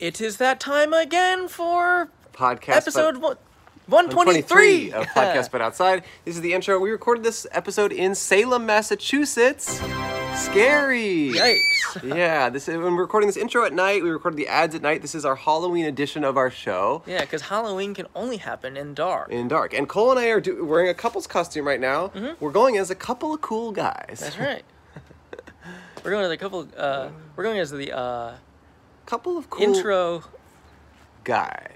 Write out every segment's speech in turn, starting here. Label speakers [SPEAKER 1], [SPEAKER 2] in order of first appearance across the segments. [SPEAKER 1] It is that time again for
[SPEAKER 2] Podcast
[SPEAKER 1] episode
[SPEAKER 2] but-
[SPEAKER 1] one- 123.
[SPEAKER 2] of Podcast But Outside. This is the intro. We recorded this episode in Salem, Massachusetts. Scary.
[SPEAKER 1] Yikes.
[SPEAKER 2] Yeah, this is, when we're recording this intro at night, we recorded the ads at night. This is our Halloween edition of our show
[SPEAKER 1] Yeah, because Halloween can only happen in dark.
[SPEAKER 2] in dark. And Cole and I are do, wearing a couple's costume right now. We're going as a couple of cool guys.
[SPEAKER 1] Mm-hmm. That's right. we're going to the couple, uh, we're going as the uh,
[SPEAKER 2] Couple of cool
[SPEAKER 1] intro.
[SPEAKER 2] guy.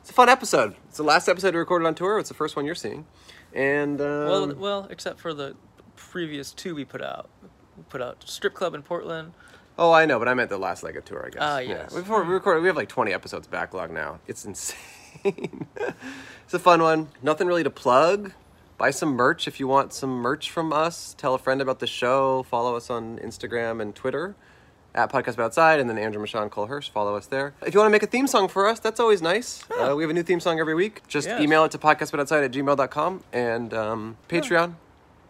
[SPEAKER 2] It's a fun episode. It's the last episode we recorded on tour. It's the first one you're seeing, and um,
[SPEAKER 1] well, well, except for the previous two we put out. We put out Strip Club in Portland.
[SPEAKER 2] oh, I know, but I meant the last leg of tour, I guess.
[SPEAKER 1] Ah,
[SPEAKER 2] Yeah.
[SPEAKER 1] yes.
[SPEAKER 2] Before we recorded, we have like 20 episodes backlog now. It's insane. it's a fun one. Nothing really to plug. Buy some merch if you want some merch from us. Tell a friend about the show. Follow us on Instagram and Twitter. At Podcast About Outside, and then Andrew Michon Cole Hirsch. Follow us there. If you want to make a theme song for us, that's always nice. Uh, we have a new theme song every week. Just
[SPEAKER 1] Yes.
[SPEAKER 2] email it to podcastbutoutside at gmail.com and um, Patreon.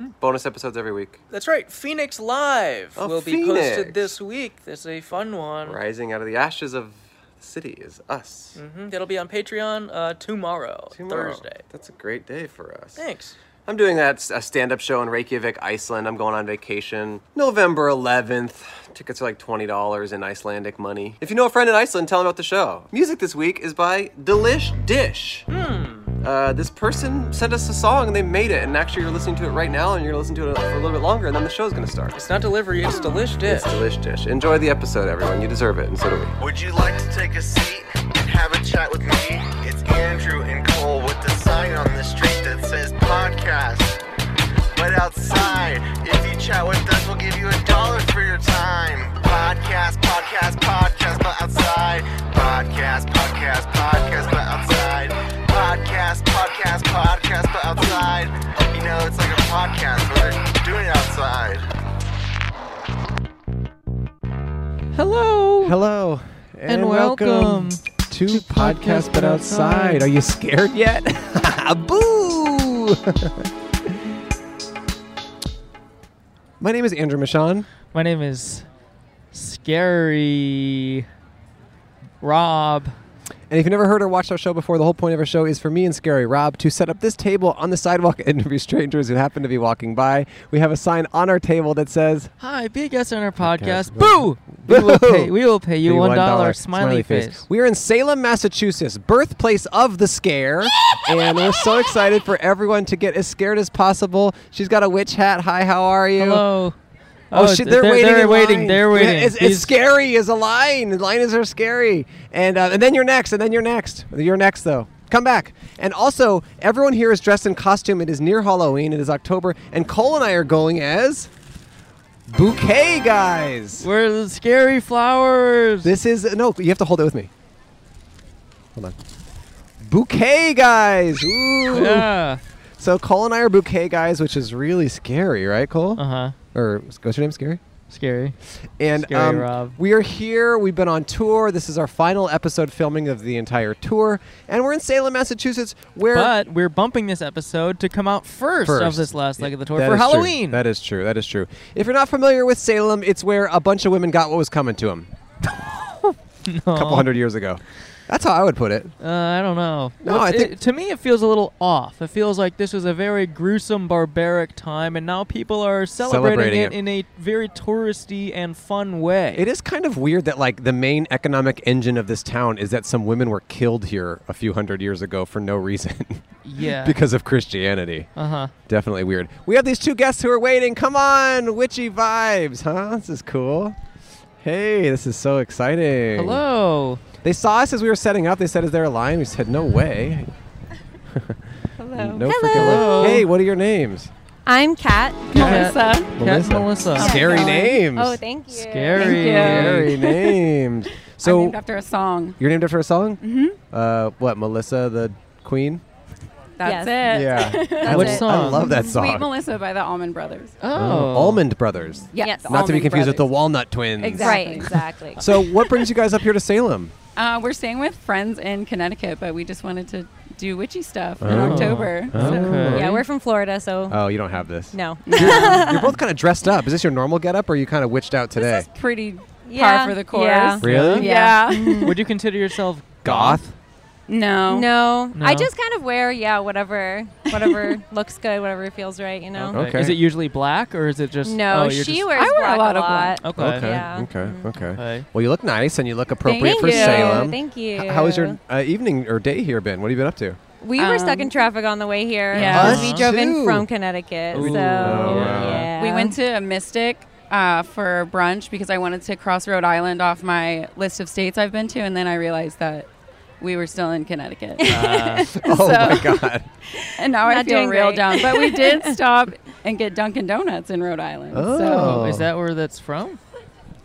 [SPEAKER 1] Hmm.
[SPEAKER 2] Bonus episodes every week.
[SPEAKER 1] That's right, Phoenix Live
[SPEAKER 2] Oh,
[SPEAKER 1] will be
[SPEAKER 2] Phoenix.
[SPEAKER 1] posted this week. It's a fun one.
[SPEAKER 2] Rising out of the ashes of the city is us.
[SPEAKER 1] hmm That'll be on Patreon uh, tomorrow,
[SPEAKER 2] Tomorrow.
[SPEAKER 1] Thursday.
[SPEAKER 2] That's a great day for us.
[SPEAKER 1] Thanks.
[SPEAKER 2] I'm doing that a stand-up show in Reykjavik, Iceland. I'm going on vacation November 11th. Tickets are like $20 in Icelandic money. If you know a friend in Iceland, tell them about the show. Music this week is by Delish Dish.
[SPEAKER 1] Hmm.
[SPEAKER 2] Uh, this person sent us a song and they made it, and actually you're listening to it right now, and you're listening to it for a little bit longer, and then the show's gonna start.
[SPEAKER 1] It's not delivery, it's delish dish.
[SPEAKER 2] It's Delish Dish. Enjoy the episode, everyone. You deserve it, and so do we.
[SPEAKER 3] Would you like to take a seat and have a chat with me? It's Andrew and Cole with the sign on the street that says podcast. But outside, if you chat with us, we'll give you a dollar for your time. Podcast, podcast, podcast, but outside. Podcast, podcast, podcast, but outside. Podcast, podcast, podcast, but outside. You know, it's like a podcast, but we're doing it outside.
[SPEAKER 1] Hello.
[SPEAKER 4] Hello and,
[SPEAKER 1] welcome
[SPEAKER 4] to podcast but outside. Are you scared yet? Boo! My name is Andrew Michon.
[SPEAKER 1] My name is Scary Rob.
[SPEAKER 4] And if you've never heard or watched our show before, the whole point of our show is for me and Scary Rob to set up this table on the sidewalk and interview strangers who happen to be walking by. We have a sign on our table that says,
[SPEAKER 1] Hi, be a guest on our podcast.
[SPEAKER 4] Podcast.
[SPEAKER 1] Boo! We will pay, we will pay you
[SPEAKER 4] Pay
[SPEAKER 1] one dollar. Smiley, face.
[SPEAKER 4] We are in Salem, Massachusetts, birthplace of the scare, and we're so excited for everyone to get as scared as possible. She's got a witch hat. Hi, how are you?
[SPEAKER 1] Hello.
[SPEAKER 4] Oh, shit, they're, waiting.
[SPEAKER 1] They're
[SPEAKER 4] in
[SPEAKER 1] waiting.
[SPEAKER 4] line.
[SPEAKER 1] They're waiting.
[SPEAKER 4] Yeah, It's, it's
[SPEAKER 1] These-
[SPEAKER 4] scary is a line. Liners are scary, and uh, and then you're next, and then you're next. You're next though. Come back. And also, everyone here is dressed in costume. It is near Halloween. It is October, and Cole and I are going as bouquet guys.
[SPEAKER 1] We're the scary flowers.
[SPEAKER 4] This is no. You have to hold it with me. Hold on. Bouquet guys. Ooh.
[SPEAKER 1] yeah.
[SPEAKER 4] So Cole and I are bouquet guys, which is really scary, right, Cole?
[SPEAKER 1] Uh huh.
[SPEAKER 4] Or what's your name? Scary.
[SPEAKER 1] Scary.
[SPEAKER 4] And
[SPEAKER 1] Scary
[SPEAKER 4] um,
[SPEAKER 1] Rob.
[SPEAKER 4] we are here. We've been on tour. This is our final episode filming of the entire tour, and we're in Salem, Massachusetts, where
[SPEAKER 1] But we're bumping this episode to come out first, of
[SPEAKER 4] First.
[SPEAKER 1] this last leg of the tour
[SPEAKER 4] That
[SPEAKER 1] for
[SPEAKER 4] is true.
[SPEAKER 1] Halloween.
[SPEAKER 4] That is true. That is true. If you're not familiar with Salem, it's where a bunch of women got what was coming to them
[SPEAKER 1] No.
[SPEAKER 4] a couple hundred years ago. That's how I would put it.
[SPEAKER 1] Uh, I don't know.
[SPEAKER 4] No,
[SPEAKER 1] What's-
[SPEAKER 4] I think-
[SPEAKER 1] it- to me it feels a little off. It feels like this was a very gruesome, barbaric time, and now people are celebrating,
[SPEAKER 4] Celebrating it.
[SPEAKER 1] it, in a very touristy and fun way.
[SPEAKER 4] It is kind of weird that like the main economic engine of this town is that some women were killed here a few hundred years ago for no reason
[SPEAKER 1] yeah.
[SPEAKER 4] because of Christianity.
[SPEAKER 1] uh huh.
[SPEAKER 4] Definitely weird. We have these two guests who are waiting. Come on, witchy vibes, huh? This is cool. Hey, this is so exciting.
[SPEAKER 1] Hello.
[SPEAKER 4] They saw us as we were setting up. They said, "Is there a line?" We said, "No way."
[SPEAKER 5] Hello.
[SPEAKER 4] No freaking
[SPEAKER 1] Hello.
[SPEAKER 4] way. Hey, what are your names?
[SPEAKER 5] I'm Kat.
[SPEAKER 1] Kat.
[SPEAKER 5] Melissa.
[SPEAKER 1] Cat
[SPEAKER 6] Oh
[SPEAKER 1] Melissa.
[SPEAKER 5] Yeah,
[SPEAKER 4] Scary
[SPEAKER 5] that one.
[SPEAKER 4] names.
[SPEAKER 5] Oh, thank you.
[SPEAKER 1] Scary.
[SPEAKER 5] Thank you.
[SPEAKER 4] Scary names.
[SPEAKER 6] So
[SPEAKER 4] So
[SPEAKER 6] I'm named after a song.
[SPEAKER 4] you're named after a song? Mm-hmm. Uh, what? Melissa the Queen.
[SPEAKER 6] That's it.
[SPEAKER 4] Yeah. I,
[SPEAKER 5] Which
[SPEAKER 4] lo- I
[SPEAKER 1] song?
[SPEAKER 4] love that song.
[SPEAKER 6] Sweet Melissa by the Almond Brothers.
[SPEAKER 1] Oh.
[SPEAKER 4] Oh, Almond Brothers.
[SPEAKER 6] Yes.
[SPEAKER 5] Yes.
[SPEAKER 6] the
[SPEAKER 4] Not to be
[SPEAKER 6] Allman
[SPEAKER 4] confused with the
[SPEAKER 6] Brothers.
[SPEAKER 4] Walnut Twins.
[SPEAKER 6] Exactly.
[SPEAKER 5] Right, exactly.
[SPEAKER 4] So what brings you guys up here to Salem?
[SPEAKER 6] Uh, we're staying with friends in Connecticut, but we just wanted to do witchy stuff in
[SPEAKER 4] Oh.
[SPEAKER 6] October.
[SPEAKER 4] Oh.
[SPEAKER 1] Okay.
[SPEAKER 5] yeah, we're from Florida, so
[SPEAKER 4] Oh, you don't have this.
[SPEAKER 5] no.
[SPEAKER 4] you're, you're both kind of dressed up. Is this your normal getup, or are you kind of witched out today?
[SPEAKER 6] This is pretty
[SPEAKER 5] Yeah,
[SPEAKER 6] par for the course.
[SPEAKER 5] yeah.
[SPEAKER 4] Really?
[SPEAKER 6] Yeah.
[SPEAKER 1] Hmm. Would you consider yourself
[SPEAKER 4] Goth?
[SPEAKER 6] no.
[SPEAKER 5] No, I
[SPEAKER 1] No.
[SPEAKER 5] just kind of wear yeah whatever whatever looks good, whatever feels right, you know.
[SPEAKER 4] Okay.
[SPEAKER 1] Is it usually black or is it just?
[SPEAKER 5] No,
[SPEAKER 1] oh, you're
[SPEAKER 5] she
[SPEAKER 1] just-
[SPEAKER 5] wears
[SPEAKER 6] Oh, I wear a
[SPEAKER 5] black
[SPEAKER 6] lot of
[SPEAKER 1] Okay.
[SPEAKER 4] Okay.
[SPEAKER 5] Yeah.
[SPEAKER 4] Okay. Okay.
[SPEAKER 1] Okay.
[SPEAKER 4] Well, you look nice and you look appropriate
[SPEAKER 6] Mm-hmm. Thank
[SPEAKER 4] for
[SPEAKER 6] you.
[SPEAKER 4] Salem.
[SPEAKER 5] Thank you.
[SPEAKER 4] H- How has your uh, evening or day here been? What have you been up to?
[SPEAKER 5] We were stuck
[SPEAKER 6] Um,
[SPEAKER 5] in traffic on the way here.
[SPEAKER 6] Yeah.
[SPEAKER 5] because
[SPEAKER 1] Us
[SPEAKER 5] we drove
[SPEAKER 4] too.
[SPEAKER 5] in from Connecticut.
[SPEAKER 1] Ooh.
[SPEAKER 5] So
[SPEAKER 1] Oh, wow.
[SPEAKER 5] yeah.
[SPEAKER 6] We went to Mystic uh, for brunch because I wanted to cross Rhode Island off my list of states I've been to, and then I realized that we were still in Connecticut,
[SPEAKER 1] Uh,
[SPEAKER 4] Oh
[SPEAKER 6] So-
[SPEAKER 4] my God.
[SPEAKER 6] and now I
[SPEAKER 5] Not
[SPEAKER 6] feel
[SPEAKER 5] doing
[SPEAKER 6] real
[SPEAKER 5] great.
[SPEAKER 6] down. But we did stop and get Dunkin' Donuts in Rhode Island.
[SPEAKER 4] Oh.
[SPEAKER 6] So
[SPEAKER 1] is that where that's from?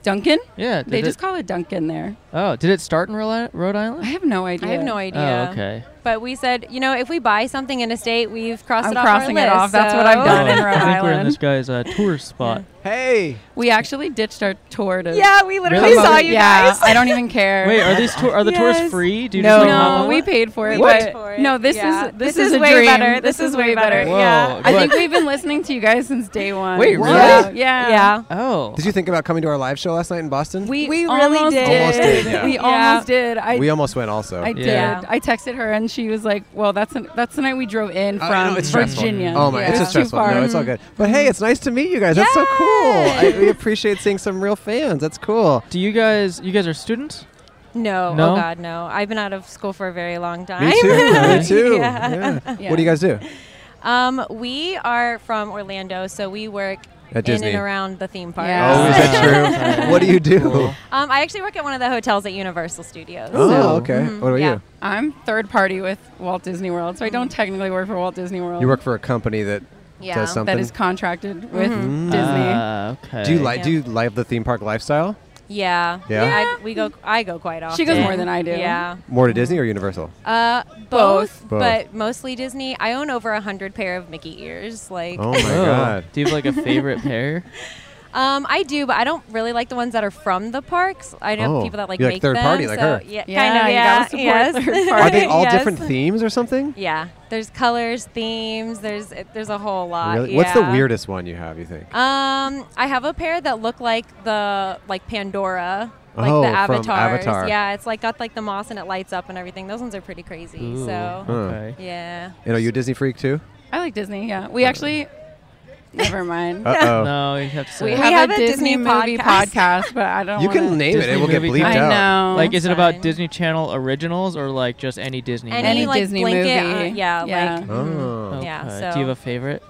[SPEAKER 6] Dunkin',
[SPEAKER 1] Yeah.
[SPEAKER 6] they
[SPEAKER 1] did
[SPEAKER 6] just
[SPEAKER 1] it-
[SPEAKER 6] call it Dunkin' there.
[SPEAKER 1] oh, did it start in Rhode Island- Rhode
[SPEAKER 6] I
[SPEAKER 1] Island?
[SPEAKER 6] have no idea.
[SPEAKER 5] I have no idea.
[SPEAKER 1] Oh, okay.
[SPEAKER 5] But we said, you know, if we buy something in a state, we've crossed
[SPEAKER 6] I'm
[SPEAKER 5] it off
[SPEAKER 6] crossing it
[SPEAKER 5] our list.
[SPEAKER 6] off. That's
[SPEAKER 5] so-
[SPEAKER 6] what I've done
[SPEAKER 1] Oh,
[SPEAKER 6] in Rhode
[SPEAKER 1] I think we're in
[SPEAKER 6] Island.
[SPEAKER 1] this guy's uh, tourist spot.
[SPEAKER 4] Hey.
[SPEAKER 6] We actually ditched our tour to.
[SPEAKER 5] Yeah, we literally
[SPEAKER 1] Really?
[SPEAKER 5] saw you
[SPEAKER 6] yeah,
[SPEAKER 5] guys.
[SPEAKER 6] I don't even care.
[SPEAKER 1] Wait, are these tour are the tours
[SPEAKER 5] Yes.
[SPEAKER 1] free? Do you
[SPEAKER 6] no,
[SPEAKER 1] just like pop
[SPEAKER 6] no,
[SPEAKER 1] up?
[SPEAKER 6] we paid for it.
[SPEAKER 5] We
[SPEAKER 6] but
[SPEAKER 5] paid for it.
[SPEAKER 6] No, this
[SPEAKER 5] Yeah.
[SPEAKER 6] is this,
[SPEAKER 5] This
[SPEAKER 6] is,
[SPEAKER 5] is
[SPEAKER 6] a
[SPEAKER 5] way
[SPEAKER 6] dream.
[SPEAKER 5] better. This is way better.
[SPEAKER 1] Whoa.
[SPEAKER 5] Yeah.
[SPEAKER 6] I think
[SPEAKER 1] but-
[SPEAKER 6] we've been listening to you guys since day one.
[SPEAKER 1] Wait,
[SPEAKER 4] What?
[SPEAKER 1] really?
[SPEAKER 6] Yeah.
[SPEAKER 5] yeah.
[SPEAKER 1] Oh.
[SPEAKER 4] Did you think about coming to our live show last night in Boston?
[SPEAKER 6] We,
[SPEAKER 5] We
[SPEAKER 6] almost
[SPEAKER 5] really did.
[SPEAKER 4] Almost did, yeah.
[SPEAKER 6] We
[SPEAKER 5] Yeah.
[SPEAKER 6] almost did. I,
[SPEAKER 4] We almost went also.
[SPEAKER 6] I did.
[SPEAKER 1] Yeah.
[SPEAKER 6] I texted her and she was like, "Well, that's an, that's the night we drove in
[SPEAKER 4] Oh,
[SPEAKER 6] from
[SPEAKER 4] no, it's stressful.
[SPEAKER 6] Virginia."
[SPEAKER 4] Oh my, it's
[SPEAKER 6] Yeah.
[SPEAKER 4] just stressful.
[SPEAKER 6] Too far.
[SPEAKER 4] No, it's all good. But hey, it's nice to meet you guys. That's so cool. I, we appreciate seeing some real fans. That's cool.
[SPEAKER 1] Do you guys? You guys are students?
[SPEAKER 5] No,
[SPEAKER 1] No?
[SPEAKER 5] Oh God, no. I've been out of school for a very long time.
[SPEAKER 4] Me too. Me
[SPEAKER 1] Right.
[SPEAKER 4] too.
[SPEAKER 5] Yeah.
[SPEAKER 4] Yeah.
[SPEAKER 6] Yeah.
[SPEAKER 4] What do you guys do?
[SPEAKER 5] Um, we are from Orlando, so we work
[SPEAKER 4] At
[SPEAKER 5] in
[SPEAKER 4] Disney. Oh,
[SPEAKER 5] and around the theme park.
[SPEAKER 6] Yeah. Oh, is
[SPEAKER 4] that
[SPEAKER 1] Okay.
[SPEAKER 4] What do you do?
[SPEAKER 1] Cool.
[SPEAKER 5] Um, I actually work at one of the hotels at Universal Studios.
[SPEAKER 4] Oh,
[SPEAKER 1] So-
[SPEAKER 4] okay. What about
[SPEAKER 5] yeah.
[SPEAKER 4] you?
[SPEAKER 6] mm-hmm.
[SPEAKER 4] Mm-hmm.
[SPEAKER 6] I'm third party with Walt Disney World, so I don't technically work for Walt Disney World.
[SPEAKER 4] You work for a company that
[SPEAKER 5] Yeah.
[SPEAKER 4] does something.
[SPEAKER 6] that is contracted with Disney.
[SPEAKER 1] Ah, okay.
[SPEAKER 4] do you like?
[SPEAKER 5] Yeah.
[SPEAKER 4] Do you love the theme park lifestyle
[SPEAKER 5] Yeah.
[SPEAKER 4] Yeah?
[SPEAKER 5] I, we go. I go quite often.
[SPEAKER 6] She goes more than I do.
[SPEAKER 5] Yeah.
[SPEAKER 4] more to Disney or Universal?
[SPEAKER 5] Uh,
[SPEAKER 6] Both.
[SPEAKER 5] both,
[SPEAKER 4] Both.
[SPEAKER 5] but mostly Disney. I own over a hundred pair of Mickey ears. Like,
[SPEAKER 4] Oh my
[SPEAKER 1] Oh.
[SPEAKER 4] god.
[SPEAKER 1] Do you have like a favorite pair?
[SPEAKER 5] um, I do, but I don't really like the ones that are from the parks. I know
[SPEAKER 4] Oh,
[SPEAKER 5] people that like
[SPEAKER 4] you like
[SPEAKER 5] make
[SPEAKER 4] third
[SPEAKER 5] them.
[SPEAKER 4] party, like
[SPEAKER 5] so-
[SPEAKER 4] her.
[SPEAKER 5] Yeah,
[SPEAKER 6] Yeah,
[SPEAKER 5] kind of.
[SPEAKER 6] you
[SPEAKER 5] Yeah.
[SPEAKER 6] gotta support third
[SPEAKER 5] yes.
[SPEAKER 6] party.
[SPEAKER 4] Are they all
[SPEAKER 5] Yes.
[SPEAKER 4] different themes or something?
[SPEAKER 5] Yeah. There's colors, themes. There's it, there's a whole lot.
[SPEAKER 4] Really? What's the
[SPEAKER 5] Uh, yeah.
[SPEAKER 4] weirdest one you have? You think?
[SPEAKER 5] Um, I have a pair that look like the like Pandora, like
[SPEAKER 4] Oh,
[SPEAKER 5] the
[SPEAKER 4] from
[SPEAKER 5] avatars.
[SPEAKER 4] Avatar.
[SPEAKER 5] Yeah, it's like got like the moss and it lights up and everything. Those ones are pretty crazy.
[SPEAKER 1] Ooh,
[SPEAKER 5] So
[SPEAKER 1] Okay.
[SPEAKER 5] yeah,
[SPEAKER 4] and are you a Disney freak too?
[SPEAKER 6] I like Disney. Yeah, we actually. Never mind.
[SPEAKER 4] Uh oh.
[SPEAKER 1] No, you have to say.
[SPEAKER 6] We,
[SPEAKER 5] We
[SPEAKER 6] have,
[SPEAKER 5] have
[SPEAKER 6] a,
[SPEAKER 5] a
[SPEAKER 6] Disney,
[SPEAKER 5] Disney
[SPEAKER 6] movie
[SPEAKER 5] podcast.
[SPEAKER 6] podcast, but I don't.
[SPEAKER 4] You can
[SPEAKER 6] wanna-
[SPEAKER 4] name it;
[SPEAKER 1] Disney
[SPEAKER 4] it will get
[SPEAKER 1] movie
[SPEAKER 4] bleeped
[SPEAKER 6] I
[SPEAKER 4] out.
[SPEAKER 6] know.
[SPEAKER 1] like, is it about
[SPEAKER 5] fine.
[SPEAKER 1] Disney Channel originals or like just any Disney?
[SPEAKER 5] Any,
[SPEAKER 1] movie? Mm-hmm.
[SPEAKER 6] any
[SPEAKER 5] like,
[SPEAKER 6] Disney
[SPEAKER 5] blanket,
[SPEAKER 6] movie?
[SPEAKER 5] uh, yeah, like- mhm.
[SPEAKER 4] Oh.
[SPEAKER 1] Okay.
[SPEAKER 5] yeah,
[SPEAKER 1] Do you
[SPEAKER 5] so-
[SPEAKER 1] have a favorite?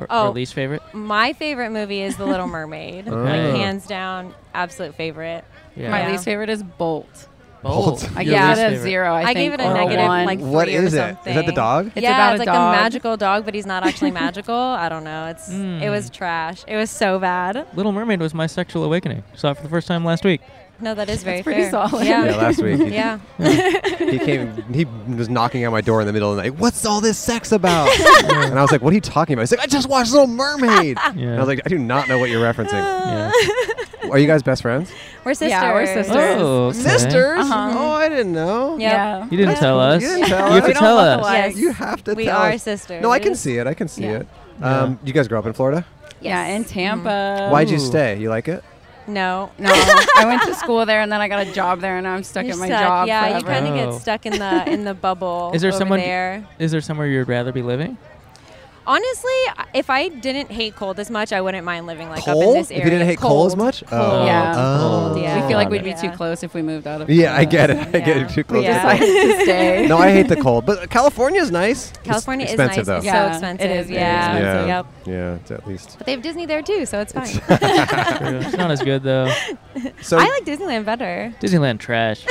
[SPEAKER 1] Or, or
[SPEAKER 5] Oh.
[SPEAKER 1] least favorite? Oh.
[SPEAKER 5] my favorite movie is The Little Mermaid.
[SPEAKER 4] Okay.
[SPEAKER 5] Like hands down, absolute favorite.
[SPEAKER 1] Yeah.
[SPEAKER 6] My
[SPEAKER 5] Yeah.
[SPEAKER 6] least favorite is Bolt.
[SPEAKER 1] Bold.
[SPEAKER 4] Bold.
[SPEAKER 6] I
[SPEAKER 1] Your
[SPEAKER 6] gave
[SPEAKER 1] least
[SPEAKER 6] it a
[SPEAKER 1] favorite.
[SPEAKER 6] zero. I,
[SPEAKER 5] I, gave it
[SPEAKER 6] think,
[SPEAKER 5] a
[SPEAKER 6] or
[SPEAKER 5] negative
[SPEAKER 6] one.
[SPEAKER 5] like
[SPEAKER 4] What
[SPEAKER 5] three or
[SPEAKER 4] is it? Is that the
[SPEAKER 5] something.
[SPEAKER 4] dog?
[SPEAKER 6] It's
[SPEAKER 5] yeah,
[SPEAKER 6] about
[SPEAKER 5] it's
[SPEAKER 6] a
[SPEAKER 5] like
[SPEAKER 6] dog.
[SPEAKER 5] a magical dog, but he's not actually magical. I don't know. It's it was
[SPEAKER 1] Hmm.
[SPEAKER 5] trash. It was so bad.
[SPEAKER 1] Little Mermaid was my sexual awakening. Saw it for the first time last week.
[SPEAKER 5] No, that is very
[SPEAKER 6] pretty
[SPEAKER 5] fair.
[SPEAKER 6] solid.
[SPEAKER 4] Yeah,
[SPEAKER 5] Yeah,
[SPEAKER 4] last week he,
[SPEAKER 5] yeah.
[SPEAKER 4] he came. He was knocking on my door in the middle of the night. What's all this sex about? and I was like, "What are you talking about?" He's like, "I just watched Little Mermaid." And I was like, "I do not know what you're referencing.
[SPEAKER 1] Yeah.
[SPEAKER 4] Are you guys best friends?
[SPEAKER 5] We're sisters.
[SPEAKER 6] Yeah, we're sisters.
[SPEAKER 1] Oh, okay.
[SPEAKER 4] Sisters?
[SPEAKER 6] Uh-huh.
[SPEAKER 4] Oh, I didn't know.
[SPEAKER 5] Yeah.
[SPEAKER 6] Yeah.
[SPEAKER 1] You didn't tell us.
[SPEAKER 4] You didn't tell
[SPEAKER 1] You have
[SPEAKER 4] us.
[SPEAKER 1] to
[SPEAKER 4] We
[SPEAKER 6] don't
[SPEAKER 1] tell
[SPEAKER 6] look
[SPEAKER 1] us.
[SPEAKER 6] alike.
[SPEAKER 5] Yes.
[SPEAKER 4] You have to.
[SPEAKER 5] We
[SPEAKER 4] tell
[SPEAKER 5] are
[SPEAKER 4] us.
[SPEAKER 5] sisters.
[SPEAKER 4] Oh, No, I can see it. I can see
[SPEAKER 6] Yeah.
[SPEAKER 4] it. Um, You guys grew up in Florida.
[SPEAKER 6] Yeah, in Tampa.
[SPEAKER 4] Mm-hmm. Why'd you
[SPEAKER 1] Ooh.
[SPEAKER 4] stay? You like it?
[SPEAKER 5] No.
[SPEAKER 6] No, I went to school there and then I got a job there and now I'm stuck
[SPEAKER 5] You're
[SPEAKER 6] at my
[SPEAKER 5] stuck.
[SPEAKER 6] job
[SPEAKER 5] Yeah, you
[SPEAKER 6] forever.
[SPEAKER 5] kind of
[SPEAKER 1] Oh.
[SPEAKER 5] get stuck in the in the bubble.
[SPEAKER 1] Is there
[SPEAKER 5] over
[SPEAKER 1] someone-
[SPEAKER 5] there?
[SPEAKER 1] Is there somewhere you'd rather be living?
[SPEAKER 5] Honestly, if I didn't hate cold as much, I wouldn't mind living like up in
[SPEAKER 4] Coal?
[SPEAKER 5] this
[SPEAKER 4] If
[SPEAKER 5] area.
[SPEAKER 4] you didn't hate coal as much? Oh.
[SPEAKER 6] Yeah.
[SPEAKER 4] Oh.
[SPEAKER 5] Cold, yeah.
[SPEAKER 6] We feel like we'd
[SPEAKER 4] Got
[SPEAKER 6] be
[SPEAKER 4] it.
[SPEAKER 6] too
[SPEAKER 5] Yeah.
[SPEAKER 6] close if we moved out of.
[SPEAKER 4] Yeah, I
[SPEAKER 6] Florida.
[SPEAKER 4] get it. I get it.
[SPEAKER 5] Yeah.
[SPEAKER 4] Too close.
[SPEAKER 5] Yeah.
[SPEAKER 4] To
[SPEAKER 6] Decided to stay.
[SPEAKER 4] no, I hate the cold, but California's nice. It's
[SPEAKER 5] California is nice.
[SPEAKER 4] expensive though.
[SPEAKER 5] It's
[SPEAKER 6] Yeah, it
[SPEAKER 5] so expensive.
[SPEAKER 6] is very
[SPEAKER 5] yeah.
[SPEAKER 6] expensive.
[SPEAKER 5] Yep.
[SPEAKER 4] Yeah, it's at least.
[SPEAKER 5] But they have Disney there too, so it's fine.
[SPEAKER 1] it's not as good though.
[SPEAKER 4] So
[SPEAKER 5] I like Disneyland better.
[SPEAKER 1] Disneyland trash.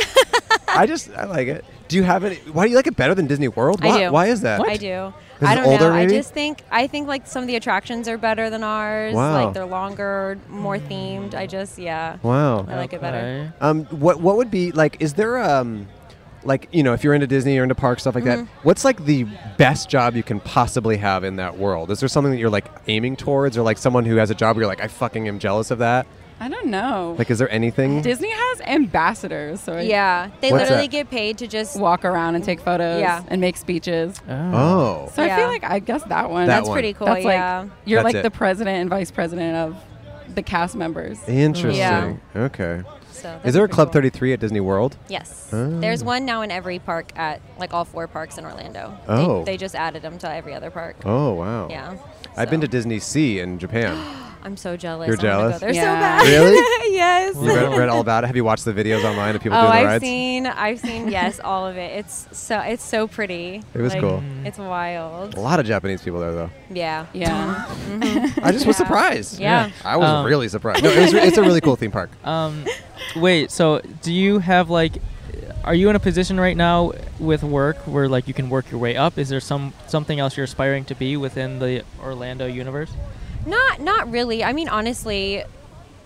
[SPEAKER 4] I just I like it. Do you have any? Why do you like it better than Disney World?
[SPEAKER 5] I
[SPEAKER 4] Why,
[SPEAKER 5] do.
[SPEAKER 4] why is that?
[SPEAKER 5] I do.
[SPEAKER 4] Is
[SPEAKER 5] I
[SPEAKER 4] it
[SPEAKER 5] don't
[SPEAKER 4] older,
[SPEAKER 5] know.
[SPEAKER 4] maybe?
[SPEAKER 5] I just think I think like some of the attractions are better than ours.
[SPEAKER 4] Wow.
[SPEAKER 5] Like they're longer, more themed. I just yeah. I
[SPEAKER 4] Wow.
[SPEAKER 5] like it better.
[SPEAKER 1] Okay.
[SPEAKER 4] Um, what what would be like? Is there um, like you know, if you're into Disney or into parks stuff like
[SPEAKER 5] Mm-hmm.
[SPEAKER 4] that, what's like the best job you can possibly have in that world? Is there something that you're like aiming towards, or like someone who has a job where you're like, I fucking am jealous of that?
[SPEAKER 6] I don't know.
[SPEAKER 4] Like, is there anything?
[SPEAKER 6] Disney has ambassadors, so I
[SPEAKER 5] Yeah, they
[SPEAKER 4] What's
[SPEAKER 5] literally
[SPEAKER 4] that?
[SPEAKER 5] get paid to just
[SPEAKER 6] walk around and take photos
[SPEAKER 5] Yeah.
[SPEAKER 6] and make speeches.
[SPEAKER 1] Oh.
[SPEAKER 4] Oh.
[SPEAKER 6] So I
[SPEAKER 5] Yeah.
[SPEAKER 6] feel like I guess that one.
[SPEAKER 4] That
[SPEAKER 5] That's
[SPEAKER 4] one.
[SPEAKER 5] pretty cool.
[SPEAKER 6] That's like
[SPEAKER 5] yeah.
[SPEAKER 6] you're
[SPEAKER 4] That's
[SPEAKER 6] like
[SPEAKER 4] it.
[SPEAKER 6] the president and vice president of the cast members.
[SPEAKER 4] Interesting.
[SPEAKER 5] Yeah.
[SPEAKER 4] Okay.
[SPEAKER 5] So those
[SPEAKER 4] Is there
[SPEAKER 5] are
[SPEAKER 4] a
[SPEAKER 5] pretty
[SPEAKER 4] Club
[SPEAKER 5] cool.
[SPEAKER 4] 33 at Disney World? Oh.
[SPEAKER 5] Yes. There's one now in every park at like all four parks in Orlando. They-
[SPEAKER 4] Oh.
[SPEAKER 5] They, just added them to every other park.
[SPEAKER 4] Oh wow.
[SPEAKER 5] Yeah.
[SPEAKER 4] I've been
[SPEAKER 5] so.
[SPEAKER 4] to Disney Sea in Japan.
[SPEAKER 5] I'm so jealous.
[SPEAKER 4] You're
[SPEAKER 5] I wanna go
[SPEAKER 4] jealous?
[SPEAKER 5] there so
[SPEAKER 6] Yeah.
[SPEAKER 5] bad.
[SPEAKER 4] Really?
[SPEAKER 5] yes.
[SPEAKER 4] you read, read all about it. Have you watched the videos online of people
[SPEAKER 5] oh,
[SPEAKER 4] doing the
[SPEAKER 5] I've
[SPEAKER 4] rides?
[SPEAKER 5] seen, I've seen, yes, all of it. It's so, it's so pretty.
[SPEAKER 4] It was
[SPEAKER 5] Like,
[SPEAKER 4] cool.
[SPEAKER 5] It's wild.
[SPEAKER 4] A lot of Japanese people there though.
[SPEAKER 5] Yeah. Mm-hmm.
[SPEAKER 6] Yeah.
[SPEAKER 4] I just was
[SPEAKER 5] Yeah.
[SPEAKER 4] surprised.
[SPEAKER 5] Yeah.
[SPEAKER 1] Yeah.
[SPEAKER 4] I was
[SPEAKER 1] Um,
[SPEAKER 4] really surprised. No, it was, it's a really cool theme park.
[SPEAKER 1] Um, wait. So, do you have like, are you in a position right now with work where like you can work your way up? Is there some something else you're aspiring to be within the Orlando universe?
[SPEAKER 5] Not, not really. I mean, honestly,